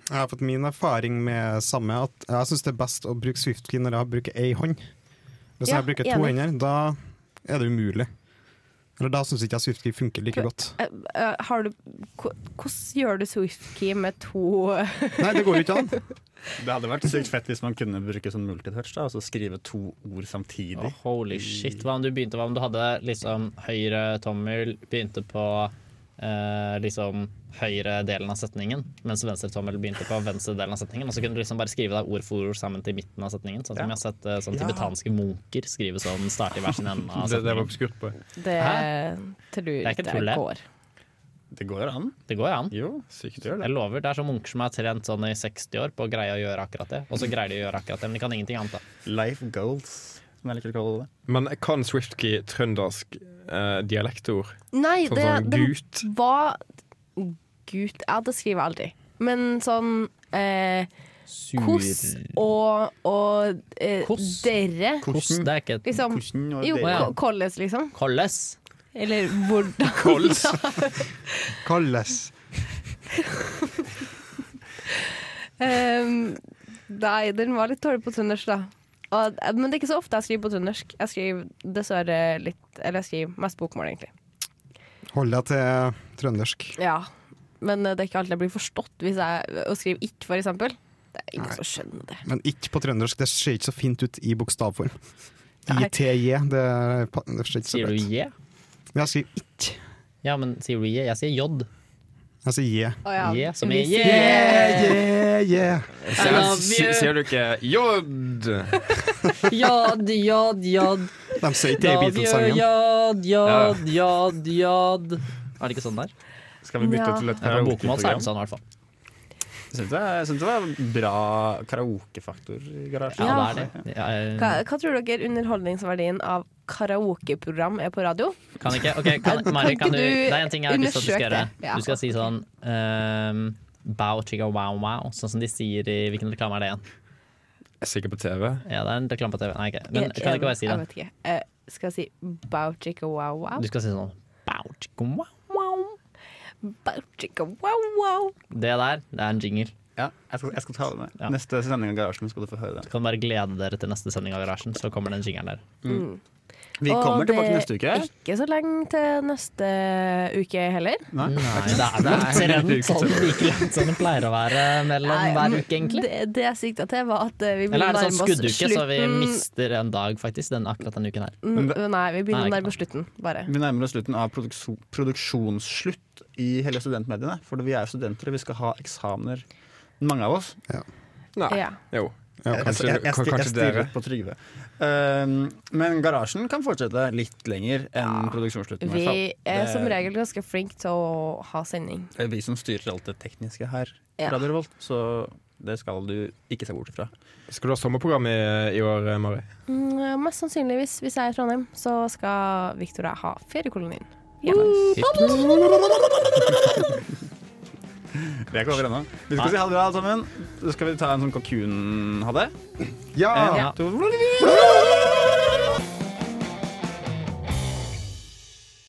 Speaker 3: Jeg har fått min erfaring med samme, at jeg syns det er best å bruke Swiftkey når jeg bruker ei hånd. Hvis
Speaker 1: Ja,
Speaker 3: jeg bruker to
Speaker 1: enig.
Speaker 3: hender, da er det umulig. Eller da syns ikke jeg Swiftkey funker like godt.
Speaker 1: Eh, eh, Har du ko- Hvordan gjør du Swiftkey med to eh,
Speaker 3: Nei, det går jo ikke an.
Speaker 2: Det hadde vært sykt fett hvis man kunne bruke sånn multitouch, da, og så skrive to ord samtidig.
Speaker 4: Holy shit, hva om du begynte Hva om du hadde liksom høyre tommel, begynte på eh, liksom høyre delen av setningen, mens venstre tommel begynte på venstre delen av setningen. Og så kunne du liksom bare skrive deg ord for ord sammen til midten av setningen. Sånn som
Speaker 5: Ja.
Speaker 4: jeg har sett eh, sånn
Speaker 5: Ja.
Speaker 4: tibetanske munker skrive sånn, starte i hver sin ende av
Speaker 5: Det, det var
Speaker 4: setningen.
Speaker 5: obskurt på.
Speaker 15: Det
Speaker 4: Hæ?
Speaker 15: tror
Speaker 4: Det er ikke
Speaker 15: jeg
Speaker 4: tull, det.
Speaker 15: går.
Speaker 4: Det går an. Det går an. Jeg lover. Det er sånn munker som er trent sånn i 60 år på å greie å gjøre akkurat det. Og så greier de å gjøre akkurat det, men de kan ingenting annet. da.
Speaker 2: Life goals, som jeg liker å kalle det.
Speaker 5: Men kan Swiftkey trøndersk eh, dialektord?
Speaker 1: Nei,
Speaker 5: sånn
Speaker 1: det,
Speaker 5: som
Speaker 1: det
Speaker 5: gut?
Speaker 1: var Gut Ja, det skriver jeg aldri. Men sånn eh,
Speaker 4: Sur-
Speaker 1: Koss og, og eh, dere.
Speaker 4: Koss, det er ikke et
Speaker 1: Liksom,
Speaker 4: og
Speaker 1: jo,
Speaker 4: dere.
Speaker 1: ko- kolles, liksom.
Speaker 4: Kolles.
Speaker 1: Eller hvordan
Speaker 4: Kolles.
Speaker 3: Kolles.
Speaker 1: Ehm, nei, den var litt dårlig på trøndersk, da. Og, men det er ikke så ofte jeg skriver på trøndersk. Jeg skriver dessverre litt Eller jeg skriver mest bokmål, egentlig.
Speaker 3: Hold deg til trøndersk.
Speaker 1: Ja, Men eh, det er ikke alt jeg blir forstått hvis jeg å skrive ikke, for eksempel. Det er ingen
Speaker 3: Nei.
Speaker 1: som skjønner det.
Speaker 3: Men ikke på trøndersk. Det ser ikke så fint ut i bokstavform.
Speaker 1: Nei.
Speaker 3: ITJ, det, er pa- det ser ikke så
Speaker 4: Sier du
Speaker 3: greit
Speaker 4: J?
Speaker 3: Men jeg sier ikke.
Speaker 4: Ja, men sier du J? Jeg sier J.
Speaker 3: Jeg sier J.
Speaker 1: Å ja.
Speaker 4: J som i
Speaker 1: Vi sier-
Speaker 4: yeah!
Speaker 3: Yeah, yeah.
Speaker 4: I love
Speaker 5: Sier
Speaker 4: you.
Speaker 5: sier du ikke jod?
Speaker 13: Jod, jod, jod.
Speaker 3: De sier ikke det
Speaker 13: Love
Speaker 3: i
Speaker 13: you,
Speaker 3: Beatles-sangen.
Speaker 13: Jod, jod,
Speaker 4: Ja.
Speaker 13: jod, jod. Er det ikke sånn der?
Speaker 2: Skal vi bytte
Speaker 13: Ja.
Speaker 2: til et
Speaker 13: Ja, på bokmål så er det sånn,
Speaker 4: i hvert fall.
Speaker 2: Jeg syns det, jeg synes det var bra karaokefaktor i garasjen.
Speaker 1: Ja, det er Hva,
Speaker 4: Mm.
Speaker 1: hva tror dere underholdningsverdien av karaokeprogram er på radio?
Speaker 4: Kan ikke? Ok, kan,
Speaker 1: Kan
Speaker 4: Mari,
Speaker 1: ikke
Speaker 4: kan du,
Speaker 1: du
Speaker 4: det er en ting jeg har lyst til at du
Speaker 1: undersøke
Speaker 4: skal gjøre.
Speaker 1: det? Ja.
Speaker 4: Du skal si sånn ehm, Bow chicka wow wow, sånn som de sier i Hvilken reklame er det igjen?
Speaker 5: Sikkert på TV.
Speaker 4: Ja, det er en reklame på TV. Nei, ok. Men
Speaker 1: Jeg-
Speaker 4: kan jeg ikke bare si
Speaker 1: jeg
Speaker 4: det?
Speaker 1: vet ikke. Eh, skal jeg si bow chicka wow wow?
Speaker 4: Du skal si sånn Bow chicka wow.
Speaker 1: wow. Bow chicka wow wow.
Speaker 4: Det der, det er en jingle.
Speaker 2: Ja, jeg skal, jeg skal ta det med. Neste sending av Garasjen skal du få høre det.
Speaker 4: Du kan bare glede dere til neste sending av Garasjen, så kommer den jingelen der.
Speaker 1: Mm.
Speaker 2: Vi
Speaker 1: Og
Speaker 2: kommer tilbake
Speaker 1: det
Speaker 2: neste uke.
Speaker 1: er Ikke så lenge til neste uke heller.
Speaker 2: Nei,
Speaker 4: det er vel omtrent sånn like langt som det pleier å være eh, mellom hver uke, egentlig.
Speaker 1: Det, det jeg sikta til, var at eh, vi
Speaker 4: Eller
Speaker 1: begynner å
Speaker 4: er det sånn
Speaker 1: nærme oss
Speaker 4: skudduke, så vi
Speaker 1: slutten.
Speaker 4: mister en dag, faktisk, den, akkurat denne uken her?
Speaker 1: Mm, Nei, vi
Speaker 4: Nei,
Speaker 1: begynner å
Speaker 4: ikke
Speaker 1: nærme oss slutten, bare.
Speaker 2: Vi nærmer oss slutten av produksjon, produksjonsslutt i hele studentmediene. For vi er studenter, og vi skal ha eksamener, mange av oss.
Speaker 5: Nei.
Speaker 1: Ja.
Speaker 5: Jo.
Speaker 2: Jeg- jeg-
Speaker 5: kanskje
Speaker 2: jeg- jeg-
Speaker 5: kan-
Speaker 2: jeg
Speaker 5: kanskje
Speaker 2: stirrer
Speaker 5: dere.
Speaker 2: på Trygve. Um, men garasjen kan fortsette litt lenger enn produksjonsslutten. i hvert
Speaker 1: Vi
Speaker 2: fall.
Speaker 1: er
Speaker 2: Det
Speaker 1: som regel ganske flinke til å ha sending.
Speaker 2: det er vi som styrer alt det tekniske her,
Speaker 1: Ja.
Speaker 2: Radio Revolt, så det skal du ikke se bort fra.
Speaker 5: Skal du ha sommerprogram i, i år, Mari?
Speaker 1: Mm, eh, mest sannsynligvis, hvis jeg er i Trondheim, så skal Victor og jeg ha feriekolonien. Ja.
Speaker 2: Vi er ikke over ennå. Vi skal si ha det bra, alle sammen. Så skal vi ta en sånn kalkun-ha det.
Speaker 3: Ja!
Speaker 2: En, to.